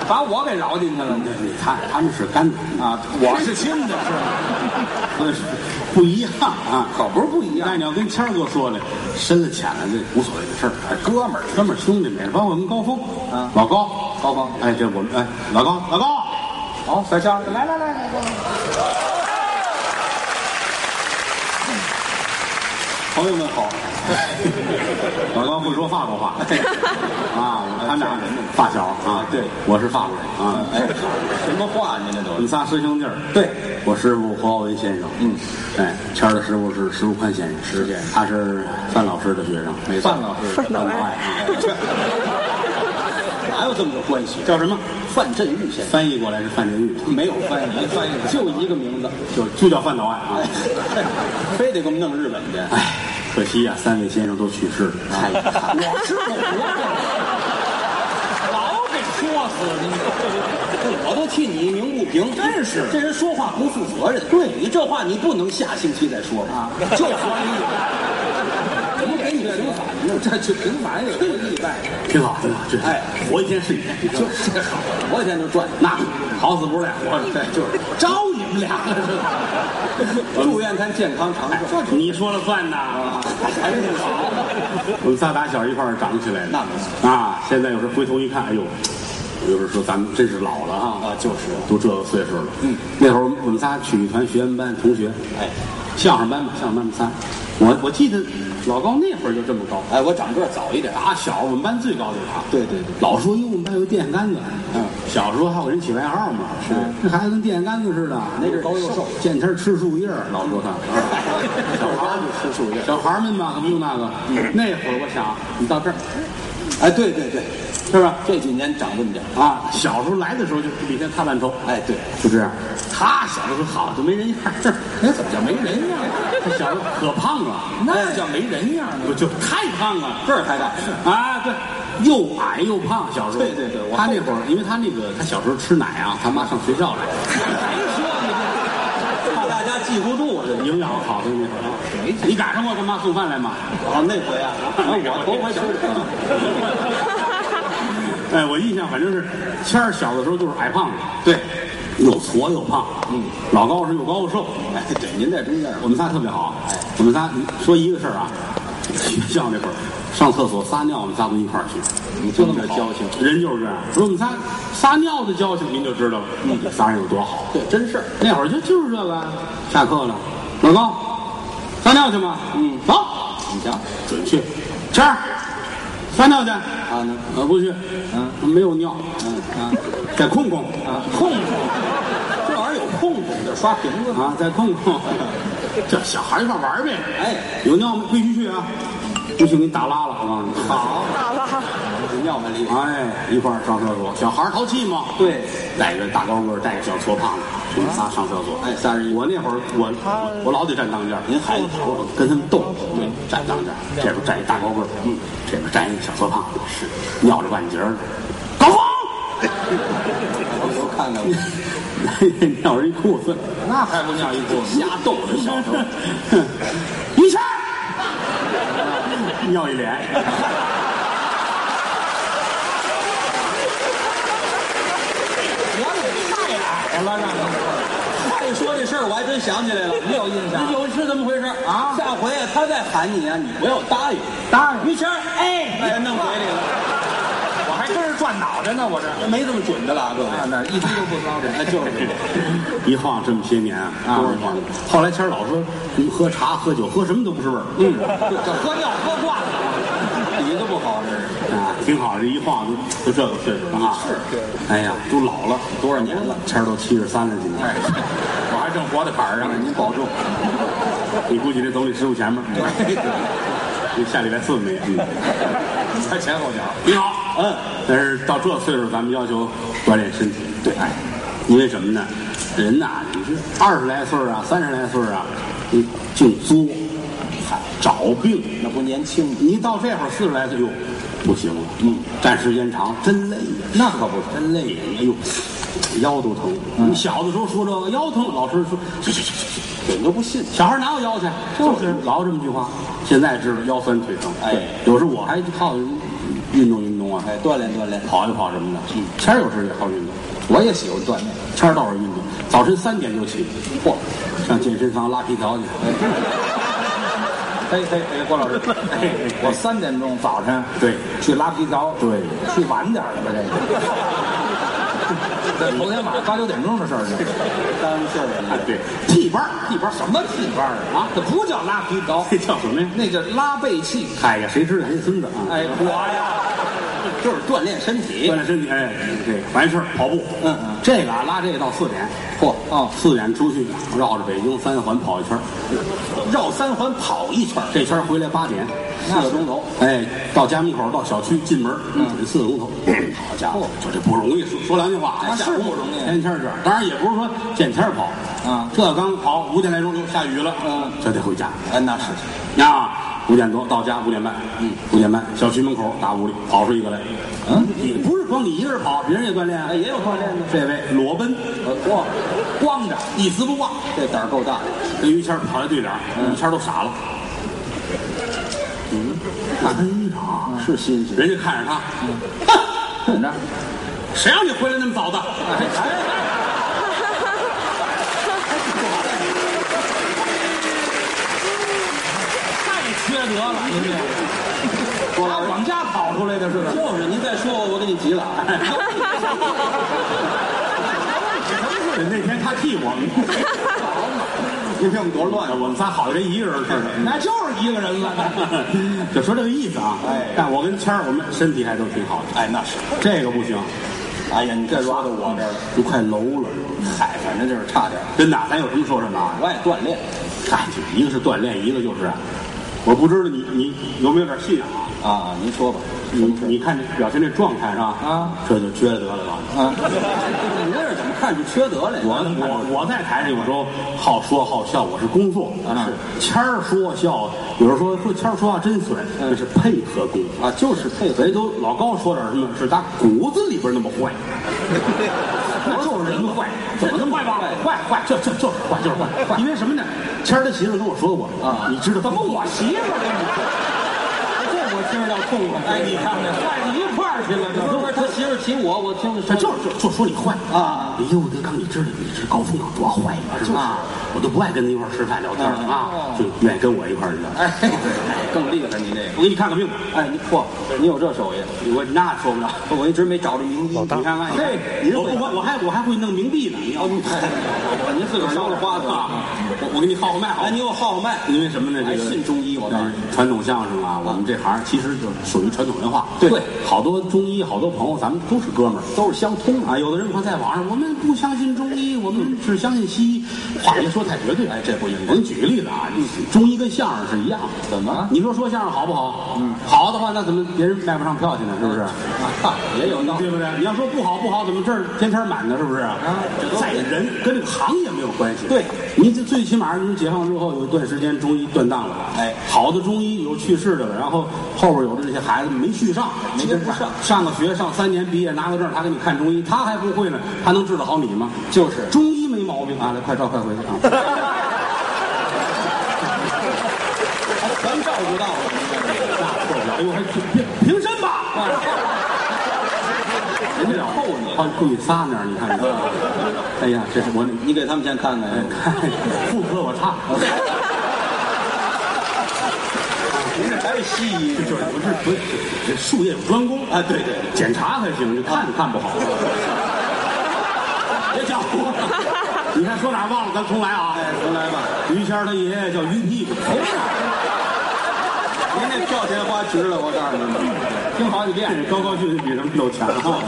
Speaker 4: 把我给饶进去了
Speaker 2: 那那他他们是干的啊，
Speaker 4: 啊！我是亲的，是吗？
Speaker 2: 那是 不一样啊。
Speaker 4: 可不是不一样
Speaker 2: 那。你要跟谦儿哥说了，深了浅了这无所谓的事儿，哎
Speaker 4: 哥们儿，
Speaker 2: 哥们儿兄弟没事，包括我们高峰
Speaker 4: 啊
Speaker 2: 老高，
Speaker 4: 高峰
Speaker 2: 哎，这我们哎，老高，老高，
Speaker 4: 好，小香，来来来，
Speaker 2: 朋友们好，老高会说法国话，啊，他们俩发小啊，
Speaker 3: 对，
Speaker 2: 我是法国人啊，
Speaker 3: 哎，什么话您这
Speaker 2: 我
Speaker 3: 都
Speaker 2: 们
Speaker 3: 是？
Speaker 2: 仨师兄弟儿，
Speaker 3: 对，
Speaker 2: 我师傅侯耀文先生，
Speaker 3: 嗯，
Speaker 2: 哎，谦儿的师傅是石如宽先生，
Speaker 3: 石先生
Speaker 2: 他是范老师的哎学生，没错
Speaker 3: 范老师
Speaker 2: 范老师，
Speaker 3: 哪有这么个关系？
Speaker 2: 叫什么？
Speaker 3: 范振钰先
Speaker 2: 翻译过来是范振钰，
Speaker 3: 生没有翻译，一翻译就一个名字，
Speaker 2: 就就叫范导爱啊。
Speaker 3: 非得给我们弄日本去。
Speaker 2: 哎，可惜呀、三位先生都去世了。哎，
Speaker 3: 我是 我，
Speaker 4: 老给说死
Speaker 3: 我都替你一鸣不平，真是这人说话不负责任。对你这话你不能下星期再说啊，就说你，怎么给你平反呢？这就平反也这意外，
Speaker 2: 挺好，挺好，这
Speaker 3: 哎，
Speaker 2: 活一天是一天。
Speaker 3: 就这好，我天就赚。
Speaker 2: 那好死不如赖活着，对，就是
Speaker 3: 招你们俩了是吧？祝愿他健康长寿。
Speaker 2: 你说了算呐。
Speaker 3: 还是好，
Speaker 2: 我们仨打小一块儿长起来的，
Speaker 3: 那没错
Speaker 2: 啊。现在有时候回头一看，哎呦，有时候说咱们真是老了啊，
Speaker 3: 啊就是
Speaker 2: 都这个岁数了。嗯，那会儿我们仨曲艺团学员班同学，
Speaker 3: 哎
Speaker 2: 相声班嘛，相声班我们仨。我我记得老高那会儿就这么高，
Speaker 3: 哎，我长个儿早一点啊。
Speaker 2: 打小我们班最高就是他。
Speaker 3: 对对对，
Speaker 2: 老说哟，我们班有电线杆子。
Speaker 3: 嗯，
Speaker 2: 小时候还有人起外号嘛，是这孩子跟电线杆子似的，
Speaker 3: 那阵儿高又瘦
Speaker 2: 见天儿吃树叶儿，老说 他。小孩儿嗯
Speaker 3: 就吃树叶。
Speaker 2: 小孩儿们嘛，可不用那个。那会儿我想，你到这儿，
Speaker 3: 哎，对对对，
Speaker 2: 是吧？
Speaker 3: 这几年长这么点儿
Speaker 2: 啊，小时候来的时候就比现在他烂头，
Speaker 3: 哎，对，
Speaker 2: 就这样。他小时候好就没人样儿，
Speaker 3: 那哎怎么叫没人样？
Speaker 2: 他小时候可胖了，哎
Speaker 3: 那叫没人样呢。
Speaker 2: 就就太胖了。
Speaker 3: 个儿太大，
Speaker 2: 啊，对，又矮又胖，小时候。
Speaker 3: 对对对我
Speaker 2: 他那会儿，因为他那个，他小时候吃奶啊，他妈上学校来，
Speaker 3: 怕 大家记不住似的。
Speaker 2: 营养好的那会儿啊。你赶上我他妈送饭来吗？
Speaker 3: 啊，那回啊，我头回吃的。
Speaker 2: 哎，我印象反正是，谦儿小的时候就是矮胖子，对，又矬又胖，嗯，老高是又高又瘦，
Speaker 3: 哎，对，您在中间哎
Speaker 2: 我们仨特别好，我们仨说一个事儿啊，学校那会儿上厕所撒尿，我们仨都一块儿去，你
Speaker 3: 就那么交情，
Speaker 2: 人就是这样。说我们仨撒尿的交情，您就知道了，嗯，仨人有多好。
Speaker 3: 对，真事儿。啊
Speaker 2: 那会儿就就是这个，下课了，老高，撒尿去吗？嗯，走，
Speaker 3: 你瞧，
Speaker 2: 准去，谦儿，撒尿去。
Speaker 3: 他呢？
Speaker 2: 啊，不去，
Speaker 3: 嗯，
Speaker 2: 没有尿，
Speaker 3: 嗯啊
Speaker 2: 再空空
Speaker 3: 啊，空空，这玩意儿有空空就刷瓶子。
Speaker 2: 啊，再空 空，这小孩儿一块儿玩儿呗。
Speaker 3: 哎，嗯
Speaker 2: 有尿吗必须去啊，不去给你打拉了，我告诉你。
Speaker 3: 好，这啊尿蛮厉害。
Speaker 2: 哎，一块儿上厕所，小孩儿淘气嘛，
Speaker 3: 对，
Speaker 2: 带个大高个儿，带个小矬胖子，我们仨上厕所。
Speaker 3: 哎，仨人一
Speaker 2: 我那会儿我我我老得站当间儿，
Speaker 3: 您孩子
Speaker 2: 我跟他们斗，对，站当间儿，这边站一大高个儿，嗯，这边站一小矬胖子，是尿着半截儿的，高峰，
Speaker 3: 我头看看我。
Speaker 2: 尿人一裤子，
Speaker 3: 那还不像一股瞎斗的小时候，
Speaker 2: 于谦儿，尿一 脸。
Speaker 3: 我也太矮了，让你。一哎说这事儿，我还真想起来了，没有印象。有是这么回事啊？下回啊，他再喊你啊，你不要答应，
Speaker 4: 答应
Speaker 3: 于谦儿，哎，把他弄嘴里了，
Speaker 4: 我还跟着转脑袋呢，我这啊
Speaker 3: 没这么准的了，啊各位。
Speaker 4: 那一滴都不脏
Speaker 3: 哎，就是 这个
Speaker 2: 一晃这么些年啊，多少晃后来谦儿老说，嗯喝茶、喝酒、喝什么都不是味儿，嗯
Speaker 3: 这喝尿喝惯了， 底子不好，这是
Speaker 2: 啊，挺好。这一晃就就这个岁数了啊，是，哎呀，都老了，
Speaker 3: 多少年了？
Speaker 2: 谦儿都七十三了，今年，
Speaker 3: 哎，
Speaker 2: 我还正活在坎儿上呢。
Speaker 3: 您保重。哎
Speaker 2: 你估计得走你师傅前面，你下礼拜四没？嗯，
Speaker 3: 他前后脚，
Speaker 2: 你好，嗯，但是到这岁数，咱们要求锻炼身体，对，哎，因为什么呢？人呐，你这二十来岁儿啊，三十来岁儿啊，你净作，嗨，找病。
Speaker 3: 那不年轻吗？
Speaker 2: 你到这会儿四十来岁，哟，不行了，嗯，站时间长真累呀，那可不嗯是，真累呀，哎呦，腰都疼。你小的时候说这个腰疼，老师说去去去去去，
Speaker 3: 人都不信。
Speaker 2: 小孩哪有腰去？就是老这么句话。现在知道腰酸腿疼，
Speaker 3: 哎
Speaker 2: 对有时候我还靠运动运动啊，
Speaker 3: 哎，锻炼锻炼，
Speaker 2: 跑一跑什么的。谦儿有时候也好运动，
Speaker 3: 我也喜欢锻炼。
Speaker 2: 谦儿倒是运动，早晨三点就起，嚯，上健身房拉皮条去。
Speaker 3: 哎嘿嘿嘿，郭老师，哎我三点钟早晨
Speaker 2: 对
Speaker 3: 去拉皮条，
Speaker 2: 对
Speaker 3: 去晚点儿了吧？这个在头天晚上八九点钟的事儿，这耽误事儿了。
Speaker 2: 哎对，
Speaker 3: 替班儿，替班儿什么替班儿啊？啊，这不叫拉皮条，
Speaker 2: 这叫什么呀？
Speaker 3: 那叫拉背气。
Speaker 2: 哎呀，谁知道人孙子啊？
Speaker 3: 哎，我呀，就是锻炼身体
Speaker 2: 锻。炼身体，哎，对，完事儿跑步，
Speaker 3: 嗯嗯
Speaker 2: 这个啊，拉这个到四点，
Speaker 3: 嚯啊，
Speaker 2: 四点出去绕着北京三环跑一圈儿，
Speaker 3: 嗯绕三环跑一圈儿，
Speaker 2: 这圈儿回来八点，
Speaker 3: 四个钟头。
Speaker 2: 哎，到家门口到小区进门，嗯，四个钟头， 好家伙
Speaker 3: 嚯，
Speaker 2: 就这不容易，说说良心话
Speaker 3: 哎
Speaker 2: 啊，
Speaker 3: 哦是不容易
Speaker 2: 天天儿这样，当然也不是说见天儿跑，
Speaker 3: 啊
Speaker 2: 这刚跑五点来钟就下雨了，
Speaker 3: 嗯，
Speaker 2: 这得回家，
Speaker 3: 哎，那是
Speaker 2: 啊，五点多到家，五点半，嗯，五点半，小区门口大屋里跑出一个来，
Speaker 3: 嗯，
Speaker 2: 也不是光你一个人跑，别人也锻炼啊，
Speaker 3: 哎，也有锻炼的。
Speaker 2: 这位裸奔，
Speaker 3: 呃光光着，
Speaker 2: 一丝不挂，
Speaker 3: 这胆儿够大。
Speaker 2: 跟于谦儿跑一对脸儿，于谦儿都傻了。嗯，哎呀，
Speaker 3: 是新鲜。
Speaker 2: 人家看着他，
Speaker 3: 怎么着？
Speaker 2: 谁让你回来那么早的？
Speaker 4: 太缺德了，您这
Speaker 3: 郭
Speaker 4: 他
Speaker 3: 老师，
Speaker 4: 往家跑出来的似的。
Speaker 3: 就是您再说我，我给你急了。
Speaker 2: 是那天他替我们，你看我们多乱啊！我们仨好的跟一个人似的。
Speaker 4: 那就是一个人了，
Speaker 2: 就说这个意思啊，
Speaker 3: 哎
Speaker 2: 但我跟谦儿，我们身体还都挺好的，
Speaker 3: 哎，那是。
Speaker 2: 这个不行，
Speaker 3: 哎呀，你这说到我这儿哎了。
Speaker 2: 都快楼了，
Speaker 3: 嗨，反正就是差点儿。
Speaker 2: 真的，咱有什么说什么啊。
Speaker 3: 我也锻炼
Speaker 2: 嗨，一个是锻炼，一个就是啊，我不知道你你有没有点信仰啊？
Speaker 3: 啊，您说吧。
Speaker 2: 你你看这表情这状态是吧？
Speaker 3: 啊，
Speaker 2: 这就缺德了吧？
Speaker 3: 啊，你这是怎么看出缺德来？
Speaker 2: 我我我在台上有时候好说好笑，我是工作
Speaker 3: 啊
Speaker 2: 是谦儿说笑，有人说说谦儿说话真损，
Speaker 4: 嗯
Speaker 2: 那是配合工作。
Speaker 3: 啊，就是配合
Speaker 2: 人都老高说点什么，是打骨子里边那 么坏，那就是人坏，怎么那么坏 吧？坏坏，就就就是坏，就是坏。因为什么呢？谦儿他媳妇跟我说过
Speaker 3: 啊
Speaker 2: 你知道
Speaker 4: 怎么我媳妇儿跟 你？这我听着倒痛快。哎，你看 看，坏到一块儿去了，
Speaker 3: 不
Speaker 4: 这
Speaker 3: 是他媳妇儿骑我，我听着
Speaker 2: 他就是就就说你坏
Speaker 3: 啊
Speaker 2: 你优德刚，你知道你是高峰有多坏吗？是吧？我都不爱跟你一块儿吃饭聊天儿
Speaker 3: 嗯
Speaker 2: 啊，就愿意跟我一块儿聊。
Speaker 3: 哎，对，更厉害你这个。
Speaker 2: 我给你看个病，
Speaker 3: 哎，你嚯，你有这手艺，
Speaker 2: 我那说不了。
Speaker 3: 我一直没找着名医。你
Speaker 2: 你看看，
Speaker 3: 嘿，
Speaker 2: 你
Speaker 3: 您
Speaker 2: 我
Speaker 3: 会
Speaker 2: 我我还我还会弄冥币呢。你要
Speaker 3: 哦， 您自个儿烧了花子
Speaker 2: 啊
Speaker 3: 了。，
Speaker 2: 我我给你哎号号脉好
Speaker 3: 哎，。你给我号号脉。
Speaker 2: 因为什么呢？
Speaker 3: 还
Speaker 2: 这个
Speaker 3: 信中医我告诉你
Speaker 2: 嗯传统相声啊，我们这行其实就是属于传统文化。
Speaker 3: 对
Speaker 2: 好多中医，好多朋友，咱们都是哥们儿。
Speaker 3: 都是相通的。
Speaker 2: 啊，有的人可能在网上，我们不相信中医，我们只相信西医， 话别说太绝对。哎，这不应该。我给你举个例子啊，中医跟相声是一样的。
Speaker 3: 怎么
Speaker 2: 你说说相声好不好？嗯，好的话，那怎么别人卖不上票去呢？是不是？
Speaker 3: 啊？也有道理
Speaker 2: 对不对？你要说不好不好，怎么这儿天天满呢？是不是？啊
Speaker 3: 这都
Speaker 2: 在人跟这个行业没有关系。
Speaker 3: 对，
Speaker 2: 你这最起码你解放之后有一段时间中医断档了，
Speaker 3: 哎
Speaker 2: 好的中医有去世的了，然后后边有的这些孩子没续上，
Speaker 3: 没跟不上
Speaker 2: 上个学上三年毕业拿个证，他给你看中医，他还不会呢，他能治得好你吗？
Speaker 3: 就是
Speaker 2: 中医没毛病啊！来，快照快回去啊！
Speaker 3: 还 全照顾到了。
Speaker 2: 那受不了，哎呦，还平平身吧，人家
Speaker 3: 后你
Speaker 2: 好故意撒那儿，你看，你看哎呀，这是我
Speaker 3: 你给他们先看看
Speaker 2: 哎，看妇科我差，
Speaker 3: 您这还是西医
Speaker 2: 就是不是不是，这术业有专攻啊，对对，检查才行，这看看不好。别讲我，你看说哪儿忘了，咱重来啊！哎，重来吧。于谦儿他爷爷叫于屁股，
Speaker 3: 您这票钱花值了，我告诉你们，听好几遍。
Speaker 2: 高高兴兴比什么都强啊！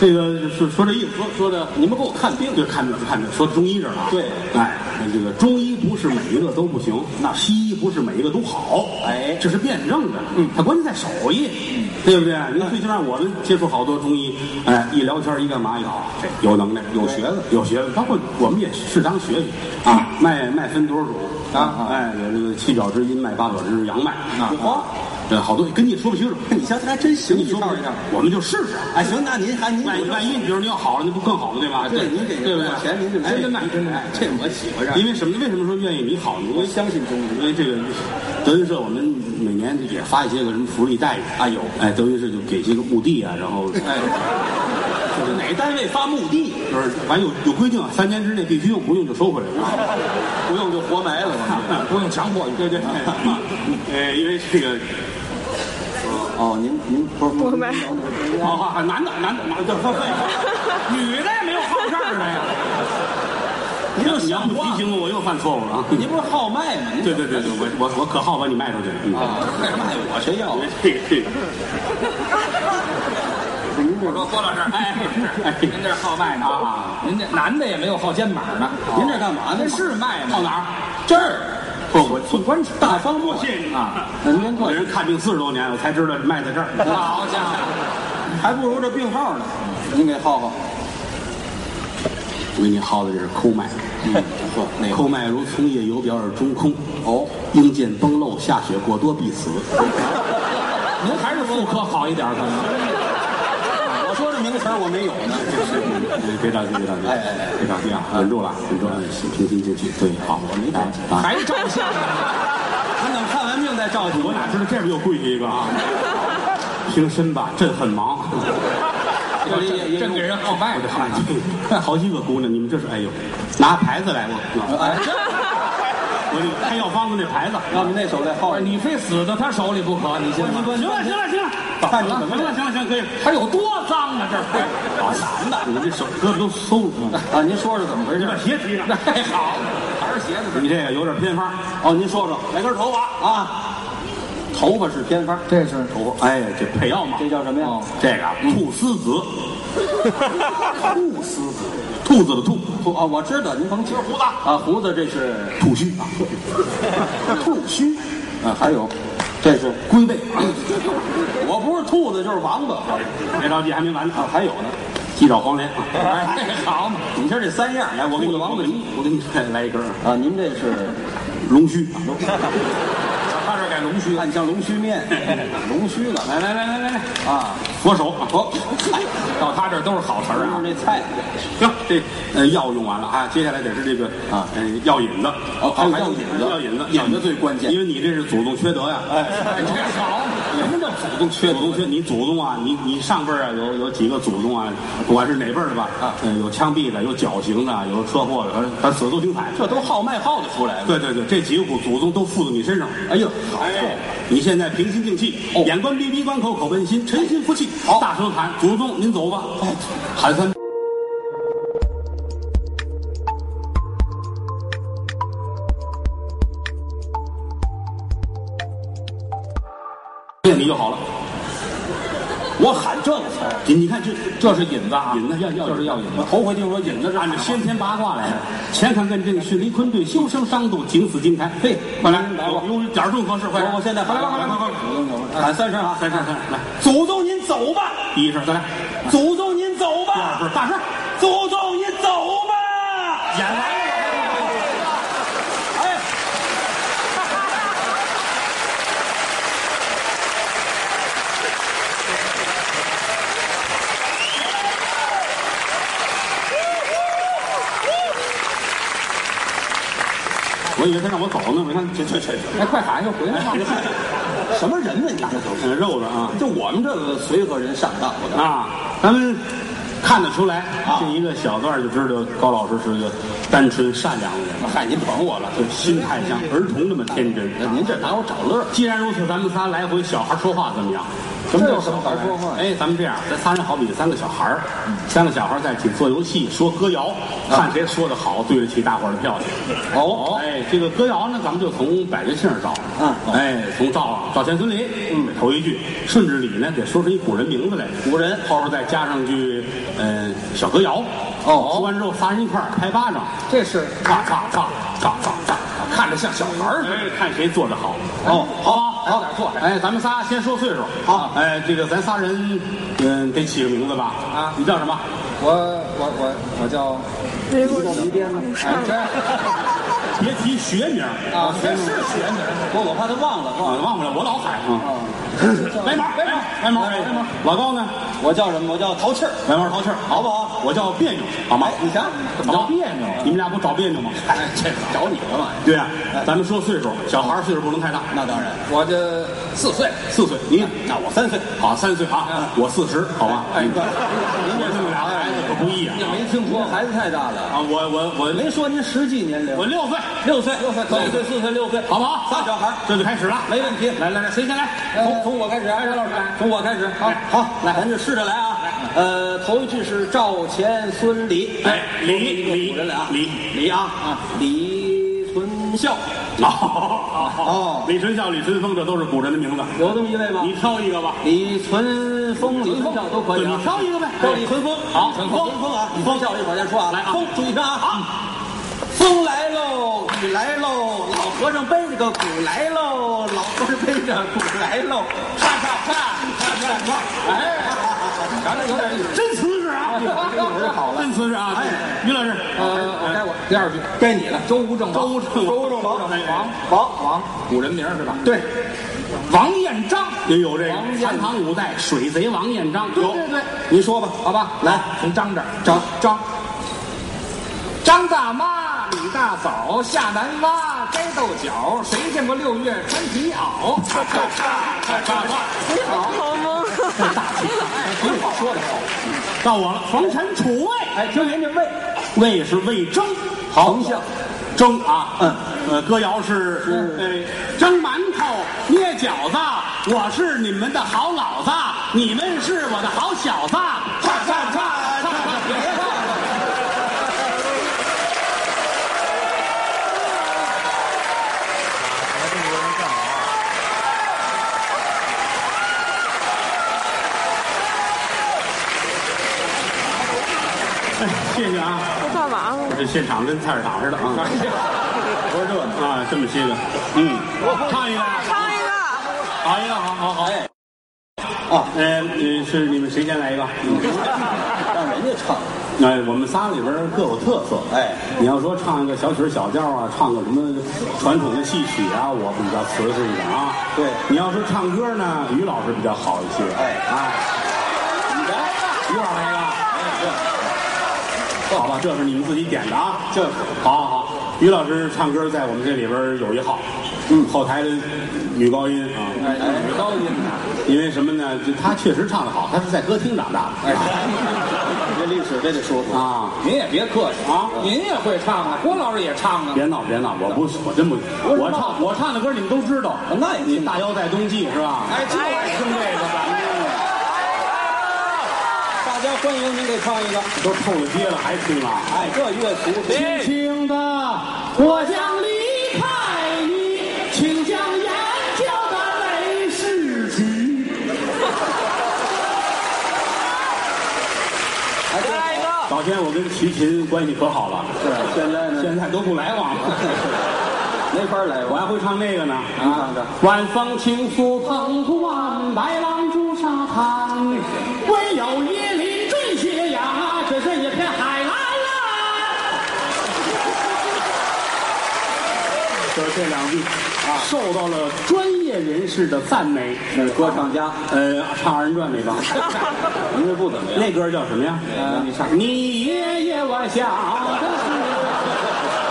Speaker 2: 这个是说这意思，说的
Speaker 3: 你们给我看病，
Speaker 2: 对，看病看病，说中医这儿啊，
Speaker 3: 对
Speaker 2: 哎，这个中医不是每一个都不行，那西医不是每一个都好，
Speaker 3: 哎
Speaker 2: 这是辩证的，嗯，它关键在手艺，对不对？你最起码我们接触好多中医，哎，一聊天一干嘛一好，这有能耐，有学问，有学问，包括我们也适当学习啊，脉脉分多少种
Speaker 3: 啊
Speaker 2: 哎，有这个七表之阴脉、八表之阳脉啊
Speaker 3: 嚯，
Speaker 2: 这好多跟你也说不清楚，
Speaker 3: 你瞧他还真行，
Speaker 2: 跟你
Speaker 3: 一
Speaker 2: 说不
Speaker 3: 套一
Speaker 2: 清
Speaker 3: 套
Speaker 2: 楚。，我们就试试。
Speaker 3: 哎，行，那您还您
Speaker 2: 万一万一，你比如你要好了，那不更好了，对吧？
Speaker 3: 对您给
Speaker 2: 对不对？
Speaker 3: 钱，您就
Speaker 2: 哎真的真的，
Speaker 3: 这我喜欢上。
Speaker 2: 因为什么？为什么说愿意你好呢？因
Speaker 3: 我
Speaker 2: 为
Speaker 3: 相信中医，
Speaker 2: 因为这个德云社，我们每年也发一些个什么福利待遇啊，有哎，德云社就给一些个墓地啊，然后
Speaker 3: 哎，就是哪个单位发墓地，
Speaker 2: 就是反正有有规定，啊，三年之内必须用，不用就收回来啊。
Speaker 3: 不用就活 埋了。哎
Speaker 2: 哎不用强迫，对对。呃，因为这个，
Speaker 3: 哦，您您不是不是
Speaker 8: 没
Speaker 2: 啊，男的男的男的，
Speaker 4: 女的也没有好这儿的呀。
Speaker 2: 你要你要不提醒我，我又犯错误了啊！
Speaker 3: 您不是号脉吗？您
Speaker 2: 对对对对，我我我可好把你卖出去了。嗯
Speaker 3: 啊，卖卖我谁要？
Speaker 2: 这个这个，
Speaker 4: 我说郭老师，哎，
Speaker 2: 哎
Speaker 4: 是您这好卖呢
Speaker 2: 啊，
Speaker 4: 您这男的也没有好肩膀的，
Speaker 3: 您这干嘛呢？
Speaker 4: 这是卖
Speaker 2: 到
Speaker 4: 吗？
Speaker 2: 哪儿？
Speaker 3: 这儿，
Speaker 2: 不我我
Speaker 3: 关系大方不
Speaker 2: 谢谢你
Speaker 3: 啊！您别
Speaker 2: 我
Speaker 3: 客
Speaker 2: 这
Speaker 3: 气，
Speaker 2: 人看病四十多年，我才知道卖在 这儿。
Speaker 4: 好家伙！
Speaker 3: 还不如这病号呢。您给耗耗，
Speaker 2: 我给你耗的这是抠脉，
Speaker 4: 嗯
Speaker 3: 呵，那
Speaker 2: 抠脉如从夜游表而中空，
Speaker 3: 哦，
Speaker 2: 应见崩漏，下血过多必死。
Speaker 4: 您还是妇科好一点，可能
Speaker 3: 我说这名词儿我没有呢。
Speaker 2: 哎别着急，别着急，别着急啊，
Speaker 4: 哎
Speaker 2: 稳住了，稳住了，嗯平心静气。对，好，我没着急啊。
Speaker 4: 还照相。
Speaker 3: 您怎么看完病再照
Speaker 2: 我
Speaker 3: 图呢？
Speaker 2: 哪知道这边又跪下一个 啊？平身吧，朕很忙。
Speaker 3: 这里也也
Speaker 4: 真给人好卖
Speaker 2: 我这汗 好几个姑娘，你们这是哎呦，拿牌子来我，
Speaker 3: 哎， 这
Speaker 2: 我这开药方子那牌子。
Speaker 3: 要啊不那手再耗
Speaker 4: 不是你非死到他手里不可，你信吗？
Speaker 2: 行了行了行了，
Speaker 3: 看你怎
Speaker 2: 行
Speaker 3: 么
Speaker 2: 了行了行了，可以。
Speaker 4: 他有多脏啊！这牌
Speaker 2: 好难的，我这手胳膊都馊了。
Speaker 3: 啊？您说说怎么回
Speaker 2: 你
Speaker 3: 事
Speaker 2: 把？鞋提上，
Speaker 4: 太好，还是鞋子
Speaker 2: 你这个有点偏方。
Speaker 3: 哦，您说说
Speaker 2: 来根头发，
Speaker 3: 啊，头发是偏方，
Speaker 4: 这是
Speaker 3: 哦
Speaker 2: 头发，哎，这配药嘛，
Speaker 3: 这叫什么呀？
Speaker 2: 这个啊菟丝 子，
Speaker 3: 不丝子。
Speaker 2: 兔子的兔，
Speaker 3: 不啊，我知道，您甭急。
Speaker 2: 胡子
Speaker 3: 啊，胡子这是
Speaker 2: 兔须啊，
Speaker 3: 兔须啊，还有这是龟背。 我不是兔子就是王八
Speaker 2: 别着急，还没完呢
Speaker 3: 啊，
Speaker 2: 啊，
Speaker 3: 还有呢。
Speaker 2: 鸡爪黄连啊。
Speaker 3: 哎，
Speaker 4: 好嘛，
Speaker 3: 你这这三样，
Speaker 2: 来，我给你，我给你，我给你来来一根儿
Speaker 3: 啊，您这是
Speaker 2: 龙须，
Speaker 4: 他这改龙须了。
Speaker 3: 按像龙须 面，龙须了
Speaker 4: 来来来来来来，
Speaker 3: 啊。
Speaker 2: 佛手啊，
Speaker 3: 哦，嗨，
Speaker 4: 到他这儿都是好词儿
Speaker 3: 就是
Speaker 4: 啊。
Speaker 3: 这 菜
Speaker 2: 行，这呃药用完了啊，接下来得是这个
Speaker 3: 啊
Speaker 2: 呃药引子，啊
Speaker 3: 哦还有药引子
Speaker 2: 药引子，
Speaker 3: 引子最关键
Speaker 2: 因为你这是祖宗缺德呀，
Speaker 4: 哎，这好嘛，
Speaker 3: 什么叫祖宗缺
Speaker 2: 祖宗缺你祖宗啊，你你上辈儿啊有有几个祖宗啊，不管是哪辈儿的吧，
Speaker 3: 啊
Speaker 2: 呃有枪毙的，有绞刑的，有车祸的，反正死的都挺惨。
Speaker 3: 这都号脉号的出来了。
Speaker 2: 对对对，这几个祖祖宗都附到你身上。
Speaker 3: 哎呦，
Speaker 2: 哎，你现在平心静气，
Speaker 3: 哦
Speaker 2: 眼观鼻，鼻观口，口奔心，诚心服气。好，大声喊：“祖宗，您走吧！”喊三。念你就好了。
Speaker 3: 我喊这个词儿，
Speaker 2: 你你看这
Speaker 4: 这是引子啊，
Speaker 2: 引子要要
Speaker 4: 就是要引子。
Speaker 3: 头回听说引
Speaker 2: 这
Speaker 3: 子
Speaker 2: 是按照先天八卦来的。乾坎艮震巽离坤兑修生伤度景死金台。
Speaker 3: 嘿
Speaker 2: 快嗯来，
Speaker 3: 来吧
Speaker 2: 有点儿更合适，快
Speaker 3: 我
Speaker 2: 点！
Speaker 3: 我现在
Speaker 2: 快
Speaker 3: 喊
Speaker 2: 来，快来，快来！
Speaker 3: 喊三声啊！
Speaker 2: 来来来来，
Speaker 3: 祖宗您走吧，
Speaker 2: 第一声，再来，
Speaker 3: 祖宗您走
Speaker 2: 第二
Speaker 3: 吧，
Speaker 2: 声，大声，
Speaker 3: 祖宗您走吧。
Speaker 2: 演来了。
Speaker 3: 哎，
Speaker 2: 我以为他让我走呢，我看这这这
Speaker 4: 哎，快喊就回来 吧。
Speaker 3: 什么人呢？你这都是，
Speaker 2: 这肉的啊
Speaker 3: 就我们这个随和人上当的。
Speaker 2: 啊！咱们看得出来，这一个小段就知道高老师是个单纯善良的人，
Speaker 3: 嗨，您捧我了，
Speaker 2: 就心态像儿童那么天真。
Speaker 3: 您这拿我找乐儿。
Speaker 2: 哎既然如此，咱们仨来回小孩说话怎么样？什么叫小孩
Speaker 3: 说话
Speaker 2: 哎，咱们这样，咱仨人好比三个小孩儿，三个小孩儿在一起做游戏，说歌谣，看谁说的好，对得起大伙儿的票去。
Speaker 3: 哦，
Speaker 2: 哎，这个歌谣呢，咱们就从百家姓儿找。
Speaker 3: 嗯
Speaker 2: 哎，从赵赵钱孙李，嗯，头一句，顺着李呢，得说出一古人名字来。
Speaker 3: 古人
Speaker 2: 后边再加上句，嗯、小歌谣。
Speaker 3: 哦
Speaker 2: 说完之后，仨人一块儿拍巴掌，
Speaker 4: 这是
Speaker 2: 嘎嘎嘎嘎嘎嘎，看着像小孩儿似的，看谁做的好。哦，好吧，
Speaker 4: 早点坐着
Speaker 2: 哎，咱们仨先说岁数。
Speaker 3: 好
Speaker 2: 哎，这个咱仨人，嗯，得起个名字吧？
Speaker 4: 啊
Speaker 2: 你叫什么？
Speaker 4: 我我我我叫
Speaker 8: 没过去，
Speaker 4: 哎这
Speaker 2: 别提学名儿
Speaker 4: 啊，这是学名，
Speaker 3: 我我怕他忘了，忘
Speaker 2: 啊
Speaker 3: 了。，
Speaker 2: 忘不了，我老喊啊。白毛，白毛，白毛，白毛。老高呢？
Speaker 3: 我叫什么？我叫淘气儿，
Speaker 2: 白毛淘气儿，
Speaker 3: 好不好？
Speaker 2: 我叫别扭，好吗
Speaker 3: 哎？你瞧，
Speaker 2: 好吗？别扭，
Speaker 3: 啊
Speaker 2: 你们俩不找别扭吗？
Speaker 3: 哎，这找你干嘛呀？
Speaker 2: 对啊，咱们说岁数，小孩儿岁数不能太大，
Speaker 3: 那当然，
Speaker 4: 我这四岁，
Speaker 2: 四岁，你
Speaker 3: 哎那我三岁。
Speaker 2: 好三岁啊，我四十，好吧？
Speaker 3: 哎，
Speaker 2: 嗯
Speaker 3: 您
Speaker 2: 我
Speaker 3: 这
Speaker 2: 这
Speaker 3: 是
Speaker 2: 么俩孩子可不易啊，
Speaker 3: 没听说，孩子太大了。
Speaker 2: 啊，我我我
Speaker 3: 没说您实际年龄，
Speaker 2: 我六岁，
Speaker 3: 六岁，六岁，可以，对，四岁，六岁，
Speaker 2: 好不好？
Speaker 3: 仨小孩儿，
Speaker 2: 这就开始了，
Speaker 3: 没问题。
Speaker 2: 来来来，谁先来？
Speaker 3: 从从我开始，啊，张老师，从我开始，好，好，来，咱就试着来啊。呃，头一句是赵钱孙李，
Speaker 2: 哎李
Speaker 3: 一个
Speaker 2: 李
Speaker 3: 古人来啊，
Speaker 2: 李
Speaker 3: 李啊啊，李存孝，
Speaker 2: 好好好
Speaker 3: 哦
Speaker 2: 李春孝、李春风，这都是古人的名字，
Speaker 3: 有这么一位吗
Speaker 2: 你？挑一个吧。
Speaker 3: 李存风、李存孝都可以
Speaker 2: 对
Speaker 3: 啊
Speaker 2: 你。挑一个呗。
Speaker 3: 赵李存风，
Speaker 2: 好
Speaker 3: 存风，存风啊，李存孝一会儿再说啊，
Speaker 2: 来啊
Speaker 3: 风，注意听啊，啊，风来喽，雨来喽，老和尚背着个鼓来喽，老和尚背着鼓来喽，咔咔咔，咔咔咔，哎，咱这有点意思。
Speaker 2: 真瓷实啊！
Speaker 3: 这会儿就好了
Speaker 2: 真瓷实啊！
Speaker 3: 哎
Speaker 2: 于老师，
Speaker 4: 呃，该我第二句，
Speaker 3: 该你了，
Speaker 4: 周吴郑
Speaker 2: 周
Speaker 4: 王，
Speaker 2: 吴郑王，
Speaker 3: 周正王
Speaker 2: 哎
Speaker 4: 王
Speaker 3: 王王，
Speaker 4: 古人名是吧？
Speaker 3: 对，
Speaker 4: 王彦章，
Speaker 2: 也有这个
Speaker 4: 王彦
Speaker 2: 汉唐五代水贼王彦章，
Speaker 4: 对
Speaker 2: 有
Speaker 4: 对对，
Speaker 3: 你说吧，
Speaker 4: 好吧，
Speaker 3: 来
Speaker 4: 从张这儿，
Speaker 3: 张张，
Speaker 4: 张大妈，李大嫂，下南洼摘豆角，谁见过六月穿皮袄？咔咔咔咔咔咔，
Speaker 8: 好吗？
Speaker 4: 这大气，哎，不用说的好。
Speaker 2: 到我了。冯陈楚卫，
Speaker 3: 哎，听您这位，
Speaker 2: 魏是魏征，
Speaker 3: 丞相，
Speaker 2: 征啊，
Speaker 3: 嗯，
Speaker 2: 呃，歌谣是是，哎，蒸馒头，捏饺子，我是你们的好老子，你们是我的好小子，咔咔咔咔咔。
Speaker 3: 别唱了。
Speaker 2: 哎谢谢啊，
Speaker 8: 我干嘛呢？
Speaker 2: 这现场跟菜市场似的啊，多热闹啊，这么些个，嗯，唱一个，
Speaker 8: 唱一个。
Speaker 2: 好一个，好好好，哎，
Speaker 3: 啊，
Speaker 2: 呃，你是你们谁先 来一个？
Speaker 3: 让人家唱，
Speaker 2: 哎，我们仨里边儿各有特色。
Speaker 3: 哎，
Speaker 2: 你要说唱一个小曲儿小调啊，唱个什么传统的戏曲啊，我比较瓷实一点啊。
Speaker 3: 对
Speaker 2: 你要是唱歌呢，于老师比较好一些。
Speaker 3: 哎
Speaker 2: 哎，
Speaker 3: 你来，
Speaker 2: 于老师来吧。好吧，这是你们自己点的啊。
Speaker 3: 这是
Speaker 2: 好好好，于老师唱歌在我们这里边儿有一号，嗯，后台的女高音啊。
Speaker 3: 哎，女高音呐，
Speaker 2: 因为什么呢？就她确实唱得好，她是在歌厅长大的。
Speaker 3: 哎，这历史这得说说
Speaker 2: 啊，
Speaker 4: 您也别客气
Speaker 2: 啊
Speaker 4: 您也会唱啊，郭老师也唱啊。
Speaker 2: 别闹别闹，我不我真不，
Speaker 3: 为什么
Speaker 2: 我唱我唱的歌你们都知道。
Speaker 3: 那也
Speaker 2: 你
Speaker 3: 行
Speaker 2: 大腰在冬季是吧？
Speaker 3: 哎，就爱听这个吧。大家欢迎您给唱一个。
Speaker 2: 都透了街了还听啊？
Speaker 3: 哎，这乐俗，
Speaker 2: 轻轻的，我将离开你，请将眼角的泪拭去。
Speaker 3: 来一个。
Speaker 2: 早先我跟齐秦关系可好了，
Speaker 3: 是，现在呢，
Speaker 2: 现在都不来往了。
Speaker 3: 没法来
Speaker 2: 我还会唱那个呢，
Speaker 3: 您唱的
Speaker 2: 啊晚风轻拂澎湖湾，白浪逐沙滩，唯有椰林缀斜阳，只是一片海蓝蓝。就是这两句啊，受到了专业人士的赞美。
Speaker 3: 那是歌唱家，
Speaker 2: 呃，唱二人转那个，
Speaker 3: 您这不怎么样。
Speaker 2: 那歌叫什么呀？
Speaker 3: 呃你唱
Speaker 2: 你爷爷我想的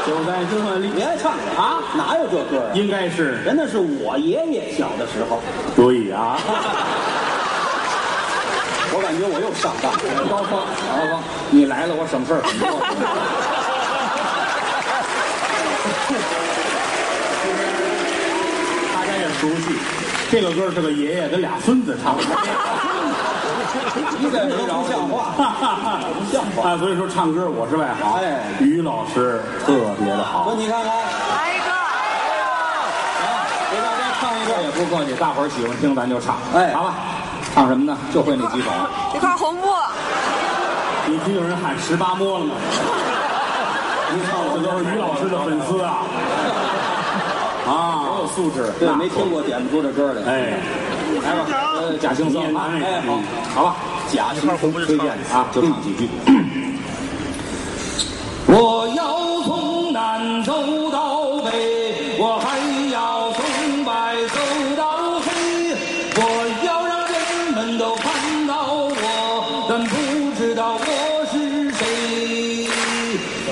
Speaker 2: 是，就在这里
Speaker 3: 别唱了啊，哪有这歌啊？
Speaker 2: 应该是
Speaker 3: 人那是我爷爷小的时候，
Speaker 2: 对啊。
Speaker 3: 我感觉我又上当了。
Speaker 4: 高峰，高峰，你来了，我省事儿。
Speaker 2: 大家也熟悉。这个歌是个爷爷跟俩孙子 唱的，
Speaker 3: 一点都不像话。
Speaker 2: 不
Speaker 3: 像话
Speaker 2: 啊，所以说唱歌我是外行，
Speaker 3: 哎
Speaker 2: 于老师特别的好
Speaker 3: 说。你看看，
Speaker 8: 来一个。
Speaker 3: 给大家唱一
Speaker 4: 这
Speaker 3: 个。
Speaker 4: 也不客气，大伙儿喜欢听咱就唱，
Speaker 3: 哎
Speaker 4: 好吧，唱什么呢？就会那几首。
Speaker 8: 一块红布。
Speaker 2: 你听有人喊十八摸了 吗？您看我这都是于老师的粉丝啊！啊，有素质
Speaker 3: 对，没听过点不出这歌来。
Speaker 2: 哎，
Speaker 4: 来吧，呃，假性
Speaker 2: 你
Speaker 4: 子
Speaker 2: 也拿那个，
Speaker 3: 哎好
Speaker 2: 嗯好吧，
Speaker 3: 假行红推荐的
Speaker 2: 啊，就唱几句。
Speaker 4: 我要从南走到北，我还要从白走到黑，我要让人们都看到我，但不知道我是谁。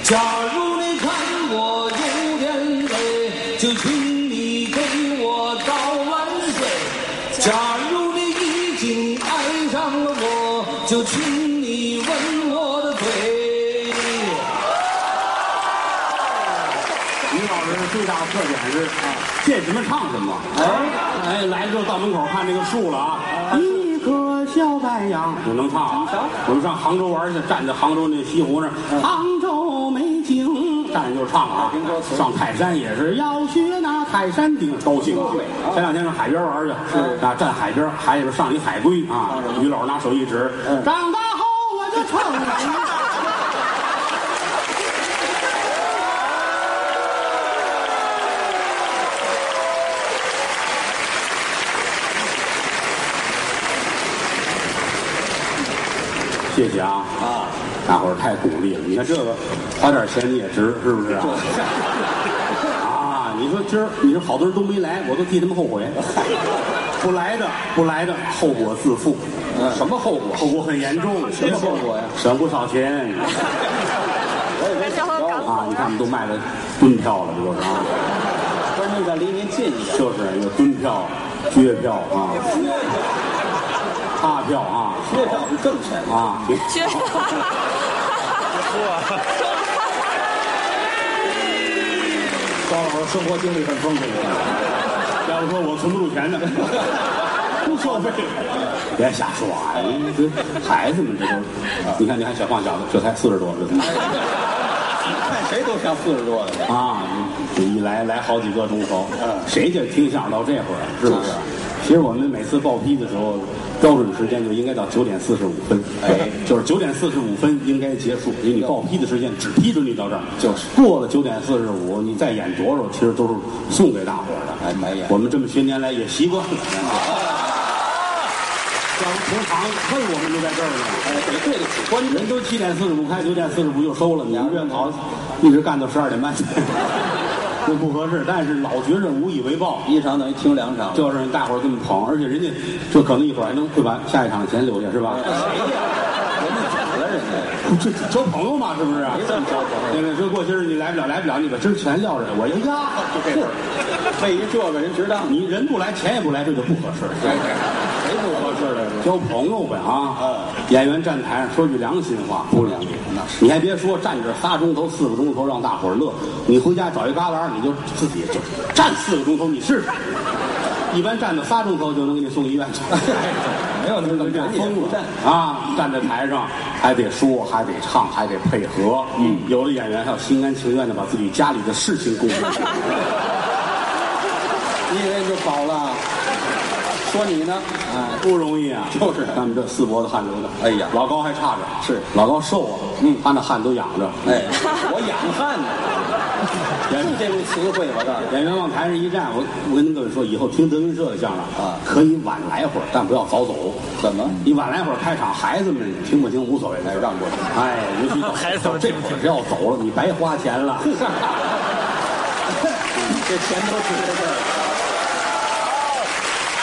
Speaker 4: 假如你看我有点累，就请你给我倒碗水。假如你已经爱上了我，就请你吻我的嘴。
Speaker 2: 最大的特点是见什么唱什么。啊哎哎，来了之后到门口看这个树了啊，一棵小白杨，我能唱啊。嗯我们上杭州玩去，站在杭州那西湖那儿，杭州美景，站着就唱啊。上泰山也是要学那泰山顶，高兴啊。前两天上海边玩去，啊，站海边，海里边上一海龟啊，于老师拿手一指，长大后我就成人了。谢谢啊！啊，大伙儿太鼓励了。你看这个，花点钱你也值，是不是啊？啊，你说今儿你说好多人都没来，我都替他们后 悔。不来的，不来的，后果自负。
Speaker 3: 什么后果？
Speaker 2: 后果很严重，
Speaker 3: 什么后果呀
Speaker 2: 省不少 钱
Speaker 8: 这家伙赶走
Speaker 2: 啊！你
Speaker 8: 了。
Speaker 2: 看，我们都卖了蹲票了，这都是啊，
Speaker 3: 观众在离您近一点。
Speaker 2: 就是有蹲票、撅票啊、趴票啊
Speaker 3: 这票是挣钱，
Speaker 2: 啊！
Speaker 8: 去，
Speaker 3: 高老师生活经历很丰富。
Speaker 2: 要不说我存不住钱呢， 不消费。别瞎说啊！你这孩子们这都，你看你看小胖小子，这才四十多，这才
Speaker 3: 看谁都像四十多的，
Speaker 2: 啊，这一来来好几个钟头，
Speaker 3: 嗯
Speaker 2: 谁家听相声到这会儿是不是？其实我们每次报批的时候，标准时间就应该到九点四十五分，
Speaker 3: 哎，
Speaker 2: 就是九点四十五分应该结束，因为你报批的时间只批准你到这儿，
Speaker 3: 就是
Speaker 2: 过了九点四十五，你再演多少，其实都是送给大伙儿的。
Speaker 3: 哎，没眼。
Speaker 2: 我们这么些年来也习惯 了。像同行恨我们就在这儿呢，
Speaker 3: 哎，得对得起观众。
Speaker 2: 人都七点四十五开，九点四十五就收了，你们越跑一直干到十二点半， 这不合适。但是老觉着无以为报，
Speaker 3: 一场等于听两场，
Speaker 2: 就是让大伙儿这么捧，而且人家这可能一会儿还能会把下一场的钱留下，是吧？
Speaker 3: 人家走了，人家
Speaker 2: 这这交朋友嘛，是不是？
Speaker 3: 没这么着
Speaker 2: 对对，说过今儿你来不了，来不了，你把今儿钱撂着，我一压，就这 事儿。
Speaker 3: 为一这个人值当。
Speaker 2: 你人不来，钱也不来，这就不合适。
Speaker 3: 谁谁不合适的？
Speaker 2: 交朋友呗啊！演员站台上说句良心话，不良心。你还别说，站这仨钟头、四个钟头让大伙儿乐。你回家找一旮旯，你就自己就站四个钟头，你试试。一般站到仨钟头就能给你送医院去。
Speaker 3: 没有那么
Speaker 2: 这疯
Speaker 3: 站
Speaker 2: 了啊！站在台上还得说，还得唱，还得配合。嗯，有的演员还要心甘情愿的把自己家里的事情贡献出来。
Speaker 3: 一人就饱了。说你呢？哎，
Speaker 2: 不容易啊，
Speaker 3: 就是
Speaker 2: 他们这四脖子汗流的。
Speaker 3: 哎呀
Speaker 2: 老高还差着，
Speaker 3: 是
Speaker 2: 老高瘦啊，嗯，他那汗都养 着。
Speaker 3: 哎，我养汉 呢，
Speaker 2: 演
Speaker 3: 就这种词汇，我告 诉
Speaker 2: 演啊员往台上一站，我我跟各位说，以后听德云社的相声
Speaker 3: 啊
Speaker 2: 可以晚来会儿，但不要早走。
Speaker 3: 你，怎么？
Speaker 2: 你晚来会儿开场，孩子们听不听无所谓，来让过去。
Speaker 3: 嗯
Speaker 2: 哎，尤 其到
Speaker 9: 孩子们
Speaker 2: 这
Speaker 9: 听不
Speaker 2: 会
Speaker 9: 听
Speaker 2: 儿要走了，你白花钱了。
Speaker 3: 这钱都是在这儿，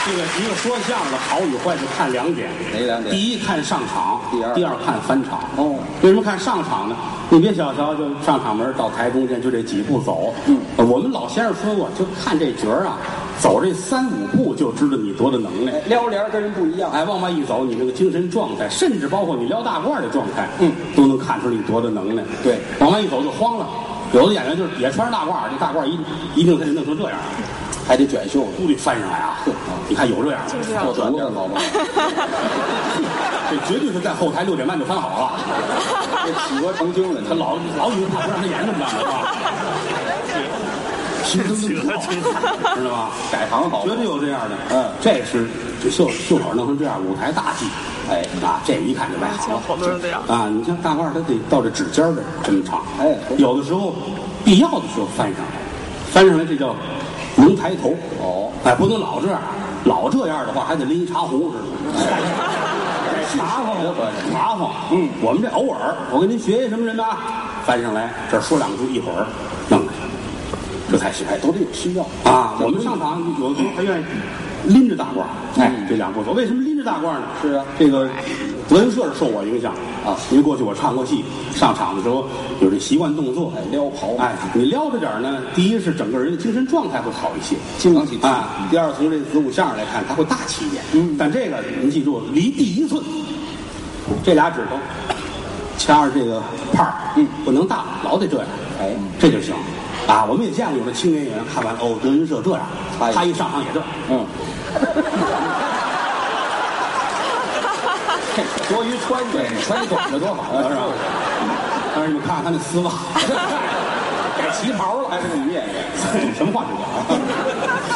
Speaker 2: 这个一个说相声的好与坏是看两点，
Speaker 3: 哪两点
Speaker 2: 第一看上场，
Speaker 3: 第二
Speaker 2: 看翻场。
Speaker 3: 哦，
Speaker 2: 为什么看上场呢？你别小瞧，就上场门到台中间就这几步走。嗯，我们老先生说过，就看这角儿啊，走这三五步就知道你多大能耐。
Speaker 3: 撩帘跟人不一样。
Speaker 2: 哎，往外一走，你这个精神状态，甚至包括你撩大褂的状态，嗯，都能看出你多大能耐。
Speaker 3: 对，
Speaker 2: 往外一走就慌了。有的演员就是也穿着大褂，这大褂一一定给你弄成这样，
Speaker 3: 还得卷袖子，嗯
Speaker 2: 都得翻上来 啊。你看有这样的，
Speaker 3: 做短点老吧。
Speaker 2: 这绝对是在后台六点半就翻好了。
Speaker 3: 这起过成 精了，
Speaker 2: 他老老以为怕不让他演怎么办 呢？是吧？企鹅 知道吧？
Speaker 3: 改行好
Speaker 2: 绝对有这样的。
Speaker 3: 嗯
Speaker 2: 这是这袖袖口弄成这样，舞台大戏。哎，啊，这一看就外行了。
Speaker 9: 哎好多人这样，
Speaker 2: 啊，你像大褂，它得到这指尖儿这儿这么长。
Speaker 3: 哎
Speaker 2: 有的时候必要的时候翻上来，翻上来这叫能抬头。
Speaker 3: 哦，
Speaker 2: 哎，不能老这样，老这样的话还得拎一茶壶似的。麻烦
Speaker 3: 合着
Speaker 2: 麻烦。嗯，我们这偶尔，我跟您学一什么人呢？翻上来，这儿说两句，一会儿弄来，这才行。
Speaker 3: 哎，都得有需要。
Speaker 2: 啊，我们上场有的时候还愿意拎着大褂儿，哎，这两步走。为什么拎着大褂儿呢？
Speaker 3: 是啊
Speaker 2: 这个德云社是受我影响
Speaker 3: 啊
Speaker 2: 因为过去我唱过戏，上场的时候有这习惯动作，
Speaker 3: 哎，撩袍，
Speaker 2: 哎，你撩着点儿呢，第一是整个人的精神状态会好一些，
Speaker 3: 经常起劲
Speaker 2: 啊。第二，从这子午相声来看，它会大气一点。嗯，但这个您记住，离地一寸，这俩指头掐着这个帕儿，嗯，不能大，老得这样，
Speaker 3: 哎，
Speaker 2: 这就行。啊，我们也见过有的青年演员看完哦，德云社这样，
Speaker 3: 哎呀
Speaker 2: 他一上场也这样，
Speaker 3: 嗯，多余穿着，穿短的多好啊，
Speaker 2: 是
Speaker 3: 是
Speaker 2: 吧
Speaker 3: 吧？？
Speaker 2: 但是你看看他那丝袜，
Speaker 3: 改旗袍了还是女演员？
Speaker 2: 什么话都讲啊。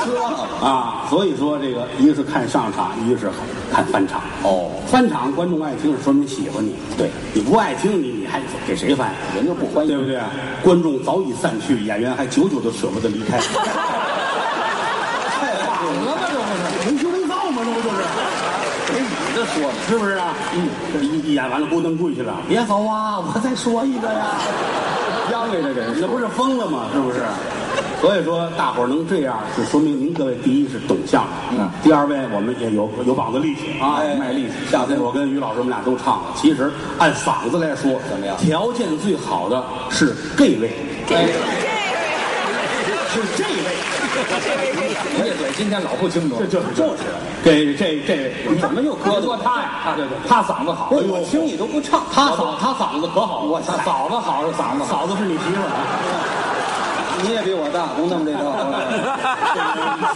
Speaker 3: 是吧？
Speaker 2: 啊，所以说这个一个是看上场，一个是看翻场。
Speaker 3: 哦，
Speaker 2: 翻场观众爱听是说明喜欢你，
Speaker 3: 对
Speaker 2: 你不爱听你你还给谁翻？
Speaker 3: 人家不欢迎
Speaker 2: 对不对？观众早已散去，演员还久久的舍不得离 开。
Speaker 3: 太棒了吧，这不
Speaker 2: 没羞没臊吗？这不就是？
Speaker 3: 是给你这说的。
Speaker 2: 是不是啊？嗯，一一演完了，咕噔跪下了，
Speaker 3: 别走啊，我再说一个呀，央给这人
Speaker 2: 那不是疯了吗？是不是？所以说，大伙儿能这样，是说明您各位第一是懂相声，
Speaker 3: 嗯
Speaker 2: 第二位我们也有有膀子力气啊，
Speaker 3: 哎
Speaker 2: 卖力气。下次我跟于老师我们俩都唱了。其实按嗓子来说，
Speaker 3: 怎么样
Speaker 2: 条件最好的是这位，
Speaker 3: 哎，
Speaker 2: 是这位，
Speaker 3: 你这嘴今天老不清楚，
Speaker 2: 这就是
Speaker 3: 就是，
Speaker 2: 这这这位，
Speaker 3: 你怎么又
Speaker 2: 哥
Speaker 3: 磕
Speaker 2: 多
Speaker 3: 多
Speaker 2: 他
Speaker 3: 他
Speaker 2: 呀
Speaker 3: 呀？？
Speaker 2: 啊
Speaker 3: 对对，
Speaker 2: 他嗓子好，
Speaker 3: 不是我听你都不唱，
Speaker 2: 他嗓他嗓子可好了，
Speaker 3: 我操
Speaker 2: 嫂子好是嗓子，嫂子是你媳妇儿。
Speaker 3: 你也比我大，不弄这套。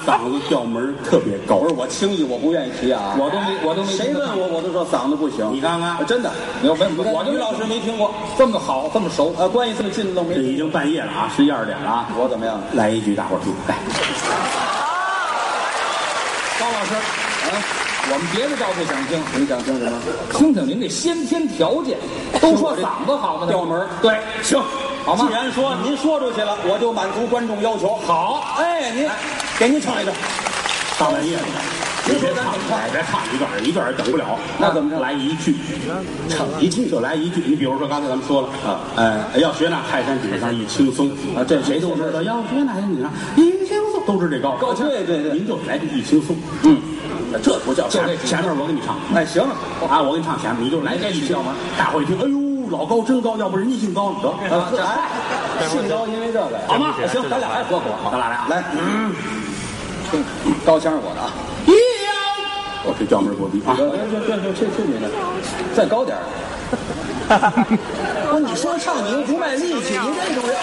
Speaker 2: 嗓子调门儿特别高
Speaker 3: 不。 是我轻易，我不愿意提啊，
Speaker 4: 我都没我都没
Speaker 3: 谁问我，我都说嗓子不行。
Speaker 2: 你看看
Speaker 3: 我真的，
Speaker 4: 没有没有
Speaker 3: 我
Speaker 4: 我就
Speaker 3: 跟老师没听过，
Speaker 4: 这么好这么熟，
Speaker 3: 呃，关系这么近都没
Speaker 2: 这
Speaker 3: 听
Speaker 2: 已经半夜了啊，十一二点了啊，
Speaker 3: 过。我怎么样？
Speaker 2: 来一局，大伙儿听，来，
Speaker 4: 高老师啊，
Speaker 3: 嗯
Speaker 4: 我们别的倒不想听，
Speaker 3: 你想听什么？
Speaker 4: 听听您这先天条件，都说嗓子好嘛，
Speaker 3: 调门儿
Speaker 4: 对，
Speaker 2: 行，
Speaker 4: 好吗
Speaker 3: 既？然说您说出去了，我就满足观众要求。
Speaker 4: 好，
Speaker 3: 哎，您给您唱一段，
Speaker 2: 大半夜的，
Speaker 3: 您
Speaker 2: 别
Speaker 3: 说咱
Speaker 2: 唱
Speaker 3: 怎么，唱？
Speaker 2: 哎别唱一段儿，一段儿也等不了。
Speaker 3: 那怎么着
Speaker 2: 来一句，唱一句就来一句。你比如说刚才咱们说了
Speaker 3: 啊，
Speaker 2: 呃，要学那泰山顶上一轻松
Speaker 3: 啊这
Speaker 2: 谁都知道。要学那泰山顶上一轻松，都知这高。
Speaker 3: 高对对对
Speaker 2: 您就来个一轻松。
Speaker 3: 嗯，这不叫
Speaker 2: 前
Speaker 3: 唱。
Speaker 2: 前面我给你唱。
Speaker 3: 哎，行，
Speaker 2: 啊，我给你唱前面，你就来这一曲门。大伙儿一听，哎呦，老高真高，要不人家姓高，得呃哎
Speaker 3: 啊，这还姓高，因为这个呀
Speaker 2: 好吗？
Speaker 3: 哎行，咱俩还合伙。
Speaker 2: 咱俩来啊，
Speaker 3: 来，嗯高腔是我的啊，
Speaker 2: 我这调门过低啊。
Speaker 3: 这这这这你的，再高点儿。 不是你说唱你又不卖力气，你这种人。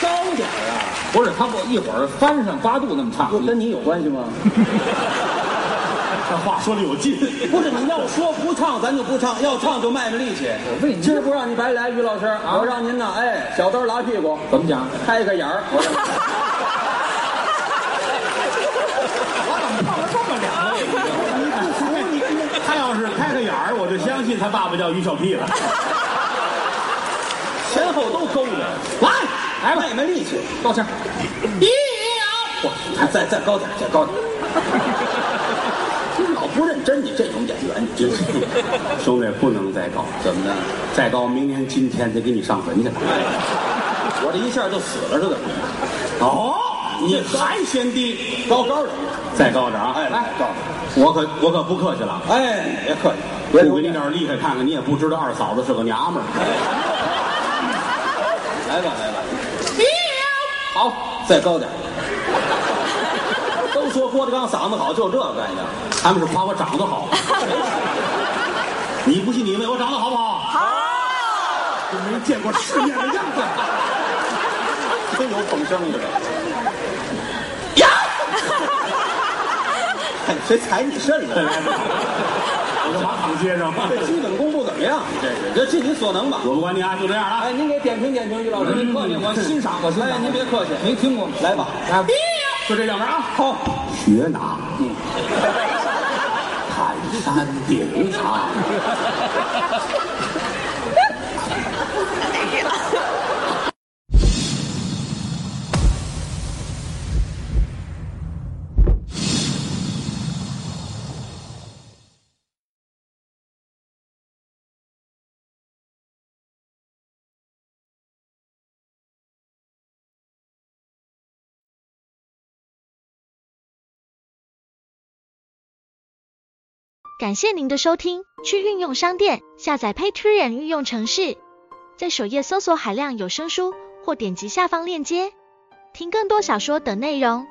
Speaker 3: 高点儿啊，
Speaker 4: 不是他我一会儿翻上八度那么唱
Speaker 3: 又，跟你有关系吗？
Speaker 2: 这话说的有劲，
Speaker 3: 不是你要说不唱，咱就不唱；要唱就卖卖力气。
Speaker 4: 为您
Speaker 3: 今儿不让你白来，于老师，我让您呢，哎，小刀拉屁股，
Speaker 4: 怎么讲？
Speaker 3: 开开眼儿。我让您
Speaker 2: 他要是开开眼儿，我就相信他爸爸叫于小 屁了。
Speaker 3: 前后都勾着，来来吧，卖卖力气。
Speaker 4: 高腔，
Speaker 3: 哇，再再高点，再高点。你老不认真，你这种演员，你真是
Speaker 2: 兄弟，不能再高，
Speaker 3: 怎么的？
Speaker 2: 再高明年今天得给你上坟去。
Speaker 3: 我这一下就死了是怎么的？
Speaker 2: 哦，你还嫌低？
Speaker 3: 高高的，
Speaker 2: 再高点啊！
Speaker 3: 哎，来，高点，
Speaker 2: 我可我可不客气了，
Speaker 3: 哎，别客气，别
Speaker 2: 不
Speaker 3: 留
Speaker 2: 给你
Speaker 3: 面
Speaker 2: 点儿厉害看看，你也不知道二嫂子是个娘 们儿。
Speaker 3: 来吧，来吧。好，再高点。都说郭德纲嗓子好，就这个概念。
Speaker 2: 他们是夸我长得好，你不信你问我长得好不好？好，就没见过世面的样子。
Speaker 3: 真有捧生的了。呀！谁踩你肾了？
Speaker 2: 我就马躺街上。
Speaker 3: 这基本功不怎么样，这是这尽你所能吧。
Speaker 2: 我不管你啊，就这样了。
Speaker 3: 哎，您给点评点评于老师，您客气，我欣赏，我欣赏。哎，您别客气，
Speaker 4: 没听过，
Speaker 3: 来吧，
Speaker 4: 来吧，
Speaker 2: 就这样门啊。
Speaker 3: 好，
Speaker 2: 学哪？ 泰山顶上。
Speaker 9: 感谢您的收听，去应用商店下载 Patreon 应用城市，在首页搜索海量有声书，或点击下方链接听更多小说等内容。